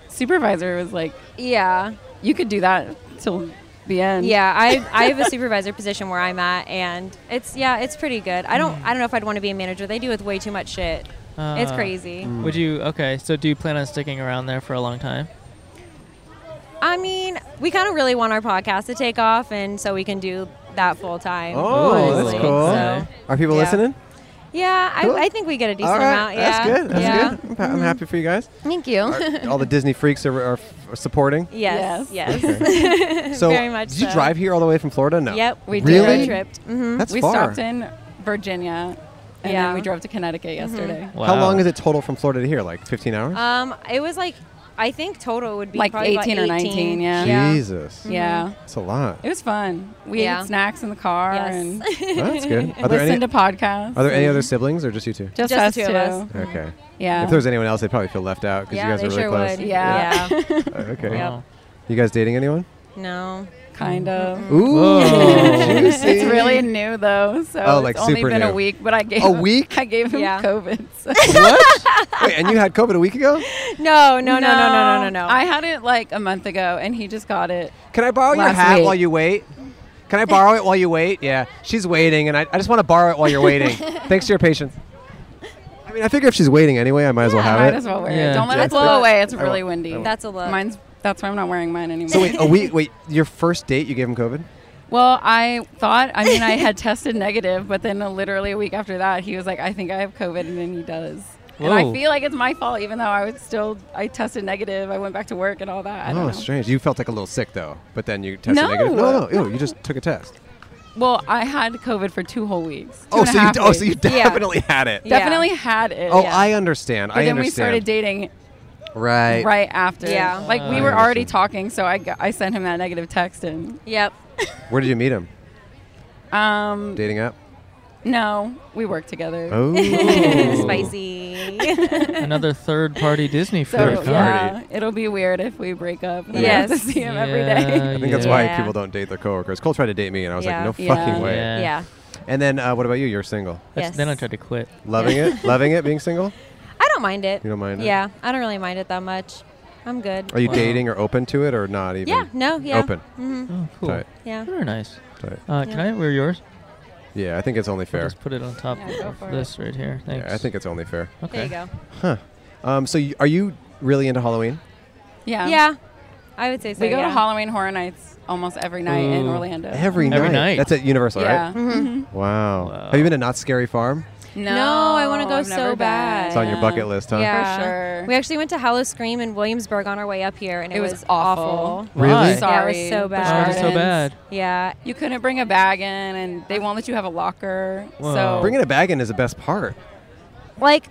[SPEAKER 6] Supervisor was like,
[SPEAKER 5] yeah.
[SPEAKER 6] you could do that till the end.
[SPEAKER 5] Yeah, I I have a supervisor position where I'm at, and it's yeah, it's pretty good. I don't I don't know if I'd want to be a manager. They do with way too much shit. it's
[SPEAKER 1] Uh,
[SPEAKER 5] crazy.
[SPEAKER 4] Mm.
[SPEAKER 1] Would you? Okay. So, do you plan on sticking around there for a long time?
[SPEAKER 5] I mean, we kind of really want our podcast to take off, and so we can do that full time.
[SPEAKER 4] Oh, that's
[SPEAKER 5] honestly.
[SPEAKER 4] cool.
[SPEAKER 5] So,
[SPEAKER 4] Are people
[SPEAKER 5] yeah.
[SPEAKER 4] listening?
[SPEAKER 5] yeah,
[SPEAKER 4] Cool.
[SPEAKER 5] I, I think we get a decent
[SPEAKER 4] All right,
[SPEAKER 5] amount. Yeah,
[SPEAKER 4] that's good. That's
[SPEAKER 5] yeah.
[SPEAKER 4] good. I'm, pa- I'm happy for you guys.
[SPEAKER 5] Thank you.
[SPEAKER 4] All the Disney freaks are, are, f- are supporting.
[SPEAKER 5] yes, yes.
[SPEAKER 4] So,
[SPEAKER 5] Very much
[SPEAKER 4] did you
[SPEAKER 5] so.
[SPEAKER 4] drive here all the way from Florida? No.
[SPEAKER 5] Yep, we did
[SPEAKER 4] really?
[SPEAKER 5] road tripped. hmm
[SPEAKER 4] That's
[SPEAKER 6] we
[SPEAKER 4] far.
[SPEAKER 6] stopped in Virginia, and
[SPEAKER 5] Yeah. Mm-hmm.
[SPEAKER 6] then we drove to Connecticut yesterday.
[SPEAKER 1] Wow.
[SPEAKER 4] How long is it total from Florida to here? Like 15 hours?
[SPEAKER 5] Um, it was like I think total would be
[SPEAKER 6] Like
[SPEAKER 5] probably
[SPEAKER 6] 18
[SPEAKER 5] about
[SPEAKER 6] or 19,
[SPEAKER 5] Uh,
[SPEAKER 6] yeah.
[SPEAKER 4] Jesus.
[SPEAKER 6] Yeah.
[SPEAKER 4] That's a lot.
[SPEAKER 6] It was fun. We
[SPEAKER 5] Mm-hmm. Yeah.
[SPEAKER 6] ate snacks in the car
[SPEAKER 5] Yes.
[SPEAKER 6] and
[SPEAKER 4] Well, that's good. Are there
[SPEAKER 6] listened
[SPEAKER 4] any
[SPEAKER 6] to podcasts.
[SPEAKER 4] Are there any
[SPEAKER 6] and
[SPEAKER 4] other siblings or just you two?
[SPEAKER 6] Just,
[SPEAKER 5] Just the
[SPEAKER 6] us
[SPEAKER 5] two of
[SPEAKER 6] two.
[SPEAKER 5] us. Mm-hmm.
[SPEAKER 4] Okay.
[SPEAKER 6] Yeah.
[SPEAKER 4] If there was anyone else, they'd probably feel left out because
[SPEAKER 5] Yeah,
[SPEAKER 4] you guys
[SPEAKER 5] they
[SPEAKER 4] are really
[SPEAKER 5] sure
[SPEAKER 4] close.
[SPEAKER 5] would.
[SPEAKER 6] Yeah.
[SPEAKER 5] yeah.
[SPEAKER 4] Uh, Okay.
[SPEAKER 5] Yep.
[SPEAKER 1] Wow.
[SPEAKER 4] You guys dating anyone?
[SPEAKER 5] no.
[SPEAKER 6] kind of.
[SPEAKER 1] Whoa.
[SPEAKER 4] juicy.
[SPEAKER 6] It's really new though, so
[SPEAKER 4] Oh,
[SPEAKER 6] it's
[SPEAKER 4] like
[SPEAKER 6] only
[SPEAKER 4] super
[SPEAKER 6] been
[SPEAKER 4] new.
[SPEAKER 6] a week. But I gave
[SPEAKER 4] A
[SPEAKER 6] him-
[SPEAKER 4] week?
[SPEAKER 6] I gave him
[SPEAKER 5] Yeah.
[SPEAKER 6] COVID. so-
[SPEAKER 4] what? Wait, and you had COVID a week ago?
[SPEAKER 5] No, no, no, no, no, no, no, no.
[SPEAKER 6] I had it like a month ago, and he just got it.
[SPEAKER 4] Can I borrow your
[SPEAKER 6] Last
[SPEAKER 4] hat
[SPEAKER 6] week.
[SPEAKER 4] while you wait? Can I borrow it while you wait? Yeah, she's waiting, and I, I just want to borrow it while you're waiting. Thanks for your patience. I mean, I figure if she's waiting anyway, I might as well have
[SPEAKER 6] Might
[SPEAKER 4] it.
[SPEAKER 6] as well wear
[SPEAKER 1] Yeah.
[SPEAKER 6] it. Don't let
[SPEAKER 4] Yeah,
[SPEAKER 6] it blow
[SPEAKER 5] that's-
[SPEAKER 6] away. It's
[SPEAKER 4] won't.
[SPEAKER 6] really windy.
[SPEAKER 4] I won't.
[SPEAKER 5] That's a look.
[SPEAKER 6] Mine's. That's why I'm not wearing mine anymore.
[SPEAKER 4] So wait, a week. Wait, your first date you gave him COVID?
[SPEAKER 6] Well, I thought, I mean, I had tested negative, but then uh, literally a week after that, he was like, I think I have COVID. And then he does. And
[SPEAKER 1] Whoa.
[SPEAKER 6] I feel like it's my fault, even though I was still, I tested negative. I went back to work and all that. I don't
[SPEAKER 4] oh,
[SPEAKER 6] know.
[SPEAKER 4] strange. You felt like a little sick though, but then you tested
[SPEAKER 6] No.
[SPEAKER 4] negative. No, no, ew, you just took a test.
[SPEAKER 6] Well, I had COVID for two whole weeks. two
[SPEAKER 4] Oh,
[SPEAKER 6] and a
[SPEAKER 4] so you
[SPEAKER 6] half
[SPEAKER 4] d- oh, so
[SPEAKER 6] weeks.
[SPEAKER 4] you definitely had it.
[SPEAKER 5] Yeah.
[SPEAKER 6] definitely had it.
[SPEAKER 4] Oh,
[SPEAKER 5] Yeah.
[SPEAKER 4] I understand.
[SPEAKER 6] Uh, But
[SPEAKER 4] I
[SPEAKER 6] then
[SPEAKER 4] understand.
[SPEAKER 6] we started dating
[SPEAKER 4] Right.
[SPEAKER 6] right after.
[SPEAKER 5] Yeah.
[SPEAKER 6] Like we
[SPEAKER 1] I
[SPEAKER 6] were already
[SPEAKER 4] understand.
[SPEAKER 6] talking, so I, got- I sent him that negative text and
[SPEAKER 5] Yep.
[SPEAKER 4] Where did you meet him?
[SPEAKER 6] um
[SPEAKER 4] Dating app.
[SPEAKER 6] no, we worked together.
[SPEAKER 4] Oh.
[SPEAKER 5] Spicy.
[SPEAKER 1] Another third-party Disney
[SPEAKER 6] So
[SPEAKER 1] freak. huh?
[SPEAKER 6] yeah, it'll be weird if we break up. And I have
[SPEAKER 5] Yes.
[SPEAKER 6] to see him
[SPEAKER 1] Yeah,
[SPEAKER 6] every day.
[SPEAKER 4] I think that's why
[SPEAKER 5] Yeah.
[SPEAKER 4] people don't date their coworkers. Cole tried to date me, and I was
[SPEAKER 5] Yeah.
[SPEAKER 4] like, no
[SPEAKER 6] Yeah.
[SPEAKER 4] fucking way.
[SPEAKER 1] Yeah.
[SPEAKER 5] yeah.
[SPEAKER 4] And then, uh, what about you? You're single.
[SPEAKER 1] That's-
[SPEAKER 5] Yes.
[SPEAKER 1] Then I tried to quit.
[SPEAKER 4] Loving it? Loving it being single?
[SPEAKER 5] I don't mind it.
[SPEAKER 4] You don't mind it?
[SPEAKER 5] Yeah, I don't really mind it that much. I'm good.
[SPEAKER 4] Are you
[SPEAKER 1] Wow.
[SPEAKER 4] dating or open to it or not even?
[SPEAKER 5] yeah. No. Yeah. Mm-hmm.
[SPEAKER 4] Open.
[SPEAKER 1] Oh, cool.
[SPEAKER 4] Tight.
[SPEAKER 5] Yeah.
[SPEAKER 1] Very nice.
[SPEAKER 4] Tight.
[SPEAKER 1] Uh, Can I wear yours?
[SPEAKER 4] Yeah, I think it's only
[SPEAKER 1] I'll
[SPEAKER 4] fair.
[SPEAKER 1] Just put it on top
[SPEAKER 6] Yeah, go
[SPEAKER 1] of
[SPEAKER 6] for
[SPEAKER 1] this right here. Thanks.
[SPEAKER 4] Yeah, I think it's only fair.
[SPEAKER 1] Okay.
[SPEAKER 5] There you go.
[SPEAKER 4] Um, so, y- are you really into Halloween?
[SPEAKER 6] Yeah.
[SPEAKER 5] Yeah. I would say so.
[SPEAKER 6] We go
[SPEAKER 5] yeah.
[SPEAKER 6] to Halloween Horror Nights almost every night in
[SPEAKER 1] Ooh.
[SPEAKER 6] Orlando.
[SPEAKER 4] Every,
[SPEAKER 1] Every
[SPEAKER 4] night.
[SPEAKER 1] night.
[SPEAKER 4] That's at Universal,
[SPEAKER 6] yeah.
[SPEAKER 4] right?
[SPEAKER 5] Mm-hmm.
[SPEAKER 4] Wow.
[SPEAKER 1] Wow.
[SPEAKER 4] Have you been to Not Scary Farm?
[SPEAKER 6] No,
[SPEAKER 5] No, I wanna go
[SPEAKER 6] I've
[SPEAKER 5] so
[SPEAKER 6] never
[SPEAKER 5] bad.
[SPEAKER 6] been.
[SPEAKER 4] It's on your bucket list, huh?
[SPEAKER 5] Uh, Yeah.
[SPEAKER 6] sure.
[SPEAKER 5] We actually went to Hallow Scream in Williamsburg on our way up here, and it,
[SPEAKER 6] It was
[SPEAKER 5] awful.
[SPEAKER 6] awful.
[SPEAKER 1] Really?
[SPEAKER 4] Really?
[SPEAKER 5] Sorry.
[SPEAKER 6] Sorry.
[SPEAKER 5] so
[SPEAKER 6] the
[SPEAKER 5] bad.
[SPEAKER 1] Oh,
[SPEAKER 5] Sorry.
[SPEAKER 1] it's so
[SPEAKER 6] gardens.
[SPEAKER 1] bad.
[SPEAKER 5] Yeah.
[SPEAKER 6] You couldn't bring a bag in, and they won't let you have a locker.
[SPEAKER 1] Whoa.
[SPEAKER 6] So
[SPEAKER 4] Bringing a bag in is the best part.
[SPEAKER 5] Like,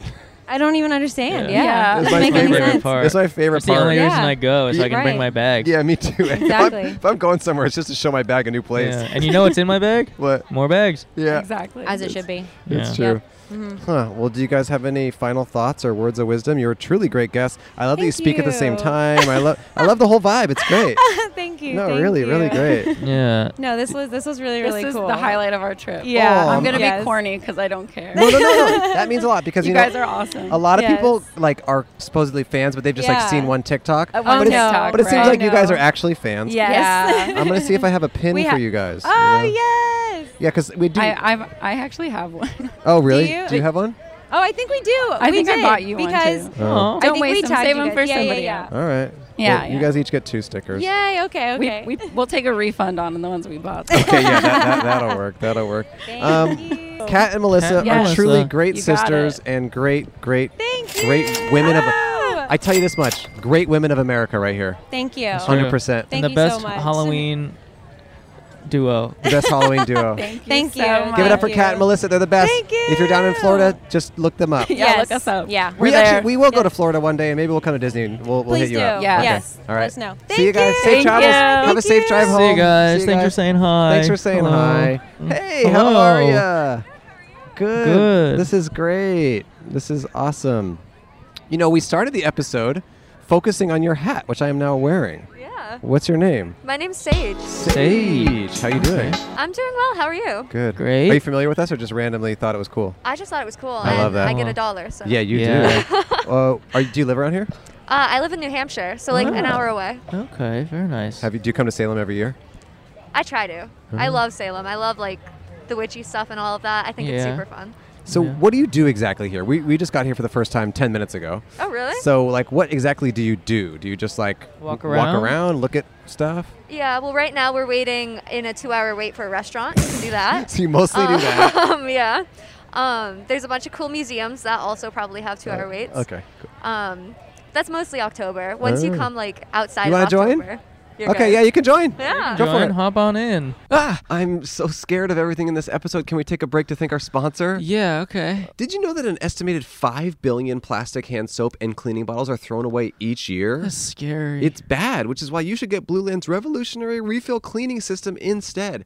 [SPEAKER 5] I don't even understand.
[SPEAKER 1] Yeah.
[SPEAKER 5] Yeah.
[SPEAKER 6] Yeah. It's
[SPEAKER 5] Doesn't
[SPEAKER 6] my
[SPEAKER 5] make any
[SPEAKER 4] favorite
[SPEAKER 5] sense.
[SPEAKER 1] part.
[SPEAKER 4] It's my favorite
[SPEAKER 1] That's the
[SPEAKER 4] part.
[SPEAKER 1] only
[SPEAKER 5] Yeah.
[SPEAKER 1] reason I go is so I can bring
[SPEAKER 5] Right.
[SPEAKER 1] my bag.
[SPEAKER 4] Yeah, me too. If I'm-
[SPEAKER 5] Exactly.
[SPEAKER 4] if, I'm, going somewhere, it's just to show my bag a new place.
[SPEAKER 1] Yeah. And you know what's in my bag?
[SPEAKER 4] What?
[SPEAKER 1] More bags.
[SPEAKER 4] Yeah,
[SPEAKER 6] exactly.
[SPEAKER 5] As it should be.
[SPEAKER 4] it's
[SPEAKER 1] Yeah.
[SPEAKER 4] true.
[SPEAKER 5] Mm-hmm.
[SPEAKER 4] Huh. Well, do you guys have any final thoughts or words of wisdom? You're a truly great guest. I love that you
[SPEAKER 5] Thank
[SPEAKER 4] speak at the same
[SPEAKER 5] you.
[SPEAKER 4] time. I love, I love the whole vibe. It's great.
[SPEAKER 5] Thank you.
[SPEAKER 4] no,
[SPEAKER 5] thank
[SPEAKER 4] really,
[SPEAKER 5] you.
[SPEAKER 4] really great.
[SPEAKER 1] Yeah.
[SPEAKER 5] No, this was this was really
[SPEAKER 6] Uh, This
[SPEAKER 5] really
[SPEAKER 6] is
[SPEAKER 5] cool.
[SPEAKER 6] the highlight of our trip.
[SPEAKER 5] Yeah.
[SPEAKER 4] Aw.
[SPEAKER 6] I'm gonna
[SPEAKER 5] Yes.
[SPEAKER 6] be corny because I don't care.
[SPEAKER 4] No, no, no, no. That means a lot because you,
[SPEAKER 6] you guys
[SPEAKER 4] know,
[SPEAKER 6] are awesome.
[SPEAKER 4] a lot of
[SPEAKER 5] Yes.
[SPEAKER 4] people like are supposedly fans, but they've just like
[SPEAKER 5] Yeah.
[SPEAKER 4] seen one TikTok.
[SPEAKER 6] At
[SPEAKER 5] Oh,
[SPEAKER 6] one
[SPEAKER 4] but, it's-
[SPEAKER 5] TikTok,
[SPEAKER 4] but it seems
[SPEAKER 5] right.
[SPEAKER 4] like you guys
[SPEAKER 5] No.
[SPEAKER 4] are actually fans.
[SPEAKER 5] Yes.
[SPEAKER 6] Yeah.
[SPEAKER 4] I'm gonna see if I have a pin
[SPEAKER 5] We
[SPEAKER 4] for
[SPEAKER 5] ha-
[SPEAKER 4] you guys.
[SPEAKER 5] Oh
[SPEAKER 4] you know?
[SPEAKER 5] yes.
[SPEAKER 4] Yeah, because we do.
[SPEAKER 6] I, I've, I actually have one.
[SPEAKER 4] oh, really?
[SPEAKER 5] you-
[SPEAKER 4] do you have one?
[SPEAKER 5] Oh, I think we do.
[SPEAKER 6] I
[SPEAKER 5] we
[SPEAKER 6] think I
[SPEAKER 5] did,
[SPEAKER 6] bought you one,
[SPEAKER 5] because
[SPEAKER 6] too.
[SPEAKER 1] Oh.
[SPEAKER 6] Don't
[SPEAKER 5] I think
[SPEAKER 6] waste
[SPEAKER 5] we
[SPEAKER 6] them.
[SPEAKER 5] tagged
[SPEAKER 6] Save
[SPEAKER 5] you
[SPEAKER 6] them
[SPEAKER 5] guys.
[SPEAKER 6] for
[SPEAKER 5] yeah,
[SPEAKER 6] somebody
[SPEAKER 5] Yeah,
[SPEAKER 6] else.
[SPEAKER 4] All right.
[SPEAKER 6] Yeah,
[SPEAKER 4] Well, You
[SPEAKER 6] yeah.
[SPEAKER 4] guys each get two stickers.
[SPEAKER 5] yeah. Yay. Okay.
[SPEAKER 6] We,
[SPEAKER 5] Okay.
[SPEAKER 6] we, we'll take a refund on the ones we bought.
[SPEAKER 4] Okay, yeah, that, that, will work. That'll work. Um,
[SPEAKER 5] Thank you.
[SPEAKER 4] Kat and Melissa
[SPEAKER 1] Kat
[SPEAKER 4] are
[SPEAKER 6] and
[SPEAKER 4] truly
[SPEAKER 1] Melissa.
[SPEAKER 4] great
[SPEAKER 6] You got
[SPEAKER 4] sisters
[SPEAKER 6] it.
[SPEAKER 4] and great, great,
[SPEAKER 5] Thank
[SPEAKER 4] great
[SPEAKER 5] you.
[SPEAKER 4] women of.
[SPEAKER 5] Oh.
[SPEAKER 4] I tell you this much: great women of America, right here.
[SPEAKER 5] Thank you.
[SPEAKER 1] true.
[SPEAKER 4] 100%.
[SPEAKER 1] and
[SPEAKER 5] Thank
[SPEAKER 1] the
[SPEAKER 5] you so
[SPEAKER 1] best
[SPEAKER 5] much.
[SPEAKER 1] Halloween duo.
[SPEAKER 4] The best Halloween duo.
[SPEAKER 6] Thank you.
[SPEAKER 5] Thank
[SPEAKER 6] so
[SPEAKER 5] you.
[SPEAKER 6] much.
[SPEAKER 4] Give it up for
[SPEAKER 5] Thank
[SPEAKER 4] Kat
[SPEAKER 5] you.
[SPEAKER 4] and Melissa. They're the best.
[SPEAKER 5] Thank you.
[SPEAKER 4] If you're down in Florida, just look them up.
[SPEAKER 6] Yeah, look us up.
[SPEAKER 5] Yeah.
[SPEAKER 6] We're
[SPEAKER 4] we
[SPEAKER 6] there.
[SPEAKER 4] actually we will go
[SPEAKER 5] Yeah.
[SPEAKER 4] to Florida one day, and maybe we'll come to Disney. And we'll we'll
[SPEAKER 5] Please
[SPEAKER 4] hit you
[SPEAKER 5] do.
[SPEAKER 4] up.
[SPEAKER 6] Yeah.
[SPEAKER 4] Okay.
[SPEAKER 5] Yes.
[SPEAKER 4] All right.
[SPEAKER 5] Let us know.
[SPEAKER 4] See you
[SPEAKER 5] Thank
[SPEAKER 4] guys.
[SPEAKER 5] you.
[SPEAKER 4] Safe
[SPEAKER 6] Thank
[SPEAKER 4] travels.
[SPEAKER 6] you.
[SPEAKER 4] Have a
[SPEAKER 5] Thank
[SPEAKER 4] safe
[SPEAKER 5] you.
[SPEAKER 4] drive home.
[SPEAKER 1] See you guys.
[SPEAKER 4] See
[SPEAKER 1] Thanks for saying hi.
[SPEAKER 4] Thanks for saying
[SPEAKER 1] Hello.
[SPEAKER 4] hi.
[SPEAKER 1] Mm.
[SPEAKER 4] Hey, how are
[SPEAKER 1] Hello.
[SPEAKER 4] you? Good.
[SPEAKER 1] Good.
[SPEAKER 4] This is great. This is awesome. You know, we started the episode focusing on your hat, which I am now wearing.
[SPEAKER 7] Yeah.
[SPEAKER 4] What's your name?
[SPEAKER 7] My name's Sage.
[SPEAKER 1] Sage.
[SPEAKER 4] How you doing?
[SPEAKER 1] Okay.
[SPEAKER 7] I'm doing well. How are you?
[SPEAKER 4] Good.
[SPEAKER 1] Great.
[SPEAKER 4] Are you familiar with us, or just randomly thought it was cool?
[SPEAKER 7] I just thought it was cool.
[SPEAKER 4] I
[SPEAKER 7] and
[SPEAKER 4] love that.
[SPEAKER 7] I get a dollar. So.
[SPEAKER 4] Yeah, you
[SPEAKER 1] Yeah.
[SPEAKER 4] do. uh, are you, do you live around here?
[SPEAKER 7] Uh, I live in New Hampshire, so like an
[SPEAKER 1] Ah.
[SPEAKER 7] hour away.
[SPEAKER 1] Okay, very nice.
[SPEAKER 4] Have you? Do you come to Salem every year?
[SPEAKER 7] I try to.
[SPEAKER 4] Ah.
[SPEAKER 7] I love Salem. I love like the witchy stuff and all of that. I think it's
[SPEAKER 1] Yeah.
[SPEAKER 7] super fun.
[SPEAKER 4] So,
[SPEAKER 1] Yeah.
[SPEAKER 4] what do you do exactly here? We, we just got here for the first time ten minutes ago.
[SPEAKER 7] Oh really?
[SPEAKER 4] So, like, what exactly do you do? Do you just like
[SPEAKER 1] Walk
[SPEAKER 4] w-
[SPEAKER 1] around?
[SPEAKER 4] walk around, look at stuff?
[SPEAKER 7] yeah. Well, right now we're waiting in a two-hour wait for a restaurant. You can do that.
[SPEAKER 4] So you mostly do that.
[SPEAKER 7] Um, yeah. Um, there's a bunch of cool museums that also probably have two-hour waits.
[SPEAKER 4] Okay. cool.
[SPEAKER 7] Um, that's mostly October. Once you
[SPEAKER 4] Oh.
[SPEAKER 7] come like outside
[SPEAKER 4] You
[SPEAKER 7] of
[SPEAKER 4] wanna join?
[SPEAKER 7] October. You're
[SPEAKER 4] Okay.
[SPEAKER 7] good.
[SPEAKER 4] Yeah, you can join.
[SPEAKER 7] Yeah.
[SPEAKER 4] Go for
[SPEAKER 1] Join,
[SPEAKER 4] it.
[SPEAKER 1] hop on in.
[SPEAKER 4] Ah, I'm so scared of everything in this episode. Can we take a break to thank our sponsor?
[SPEAKER 1] Yeah, okay.
[SPEAKER 4] Did you know that an estimated five billion plastic hand soap and cleaning bottles are thrown away each year?
[SPEAKER 1] That's scary.
[SPEAKER 4] It's bad, which is why you should get Blue Land's revolutionary refill cleaning system instead.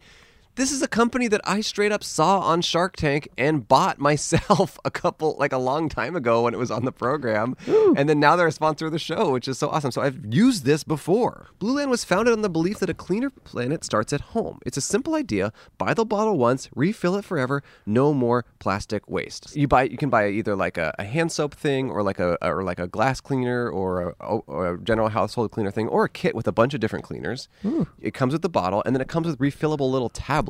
[SPEAKER 4] This is a company that I straight up saw on Shark Tank and bought myself a couple, like a long time ago when it was on the program. And then now they're a sponsor of the show, which is so awesome. So I've used this before. Blue Land was founded on the belief that a cleaner planet starts at home. It's a simple idea buy the bottle once, refill it forever, no more plastic waste. You buy, you can buy either like a, a hand soap thing or like a or like a glass cleaner or a, or a general household cleaner thing or a kit with a bunch of different cleaners. It comes with the bottle and then it comes with refillable little tablets.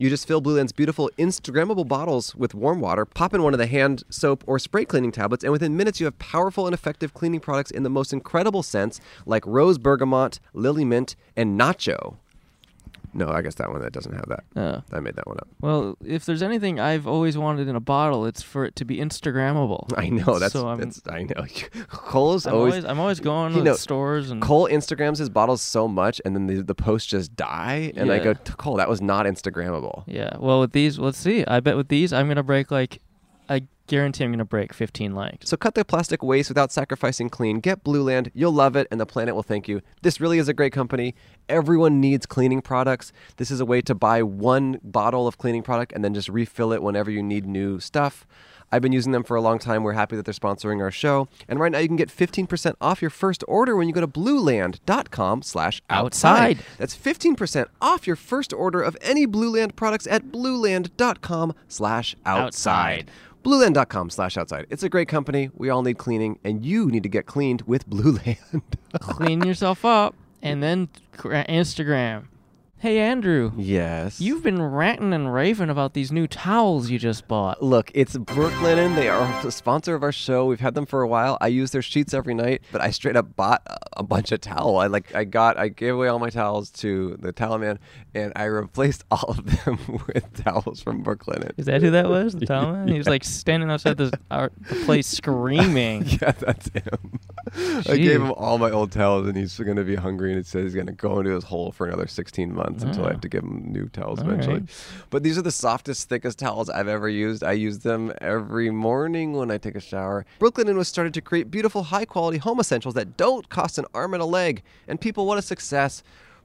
[SPEAKER 4] You just fill Blue Land's beautiful Instagrammable bottles with warm water, pop in one of the hand soap or spray cleaning tablets, and within minutes you have powerful and effective cleaning products in the most incredible scents like rose bergamot, lily mint, and nacho. No, I guess that one that doesn't have that.
[SPEAKER 1] Oh.
[SPEAKER 4] I made that one up.
[SPEAKER 1] well, if there's anything I've always wanted in a bottle, it's for it to be Instagrammable.
[SPEAKER 4] I know that's,
[SPEAKER 1] so I'm,
[SPEAKER 4] that's I know. Cole's
[SPEAKER 1] I'm
[SPEAKER 4] always,
[SPEAKER 1] always, I'm always going
[SPEAKER 4] you
[SPEAKER 1] to
[SPEAKER 4] know,
[SPEAKER 1] stores and
[SPEAKER 4] Cole Instagrams his bottles so much, and then the, the posts just die. And I
[SPEAKER 1] Yeah.
[SPEAKER 4] go, "T- Cole, that was not Instagrammable.
[SPEAKER 1] yeah. Well, with these, let's see. I bet with these, I'm gonna break like, I guarantee I'm gonna break 15 likes.
[SPEAKER 4] So cut the plastic waste without sacrificing clean. Get Blue Land. You'll love it, and the planet will thank you. This really is a great company. Everyone needs cleaning products. This is a way to buy one bottle of cleaning product and then just refill it whenever you need new stuff. I've been using them for a long time. We're happy that they're sponsoring our show. And right now you can get 15% off your first order when you go to blueland.com slash outside.
[SPEAKER 1] Outside.
[SPEAKER 4] That's 15% off your first order of any Blue Land products at blueland.com slash outside.
[SPEAKER 1] Outside.
[SPEAKER 4] Blueland.com slash outside. It's a great company. We all need cleaning, and you need to get cleaned with Blue Land.
[SPEAKER 1] Clean yourself up and then gra- Instagram. Hey Andrew,
[SPEAKER 4] yes.
[SPEAKER 1] you've been ranting and raving about these new towels you just bought.
[SPEAKER 4] Look, it's Brooklinen. They are the sponsor of our show. We've had them for a while. I use their sheets every night, but I straight up bought a- a bunch of towel. I like I got I gave away all my towels to the towel man and I replaced all of them with towels from Brooklinen.
[SPEAKER 1] Is that who that was? The towel man? He was like standing outside this, our, the place screaming.
[SPEAKER 4] Yeah, that's him. I gave
[SPEAKER 1] Jeez.
[SPEAKER 4] him all my old towels, and he's going to be hungry. And it says he's going to go into his hole for another 16 months until I have to give him new towels eventually. But these are the softest, thickest towels I've ever used. I use them every morning when I take a shower. Brooklinen was started to create beautiful, high quality home essentials that don't cost an arm and a leg. And people, what a success!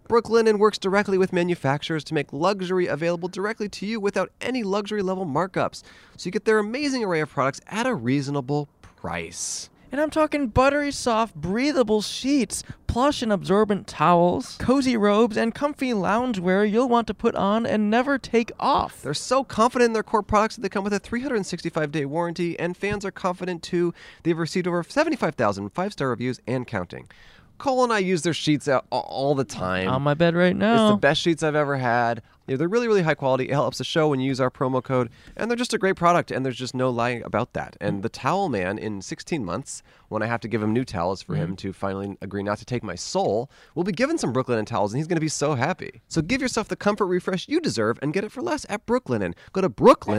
[SPEAKER 4] Brooklinen works directly with manufacturers to make luxury available directly to you without any luxury level markups. So you get their amazing array of products at a reasonable price.
[SPEAKER 1] And I'm talking buttery soft, breathable sheets, plush and absorbent towels, cozy robes, and comfy loungewear you'll want to put on and never take off.
[SPEAKER 4] They're so confident in their core products that they come with a 365 day warranty, and fans are confident too. They've received over 75,000 five star reviews and counting. Cole and I use their sheets out all the time.
[SPEAKER 1] on my bed right
[SPEAKER 4] It's
[SPEAKER 1] now.
[SPEAKER 4] the best sheets I've ever had.
[SPEAKER 2] You know, they're really, really high quality. It helps the show when you use our promo code, and they're just a great product. And there's just no lying about that. And the towel man in 16 months, when I have to give him new towels for
[SPEAKER 1] Mm-hmm.
[SPEAKER 2] him to finally agree not to take my soul, will be given some Brooklyn and towels, and he's going to be so happy. So give yourself the comfort refresh you deserve and get it for less at Brooklinen. Go to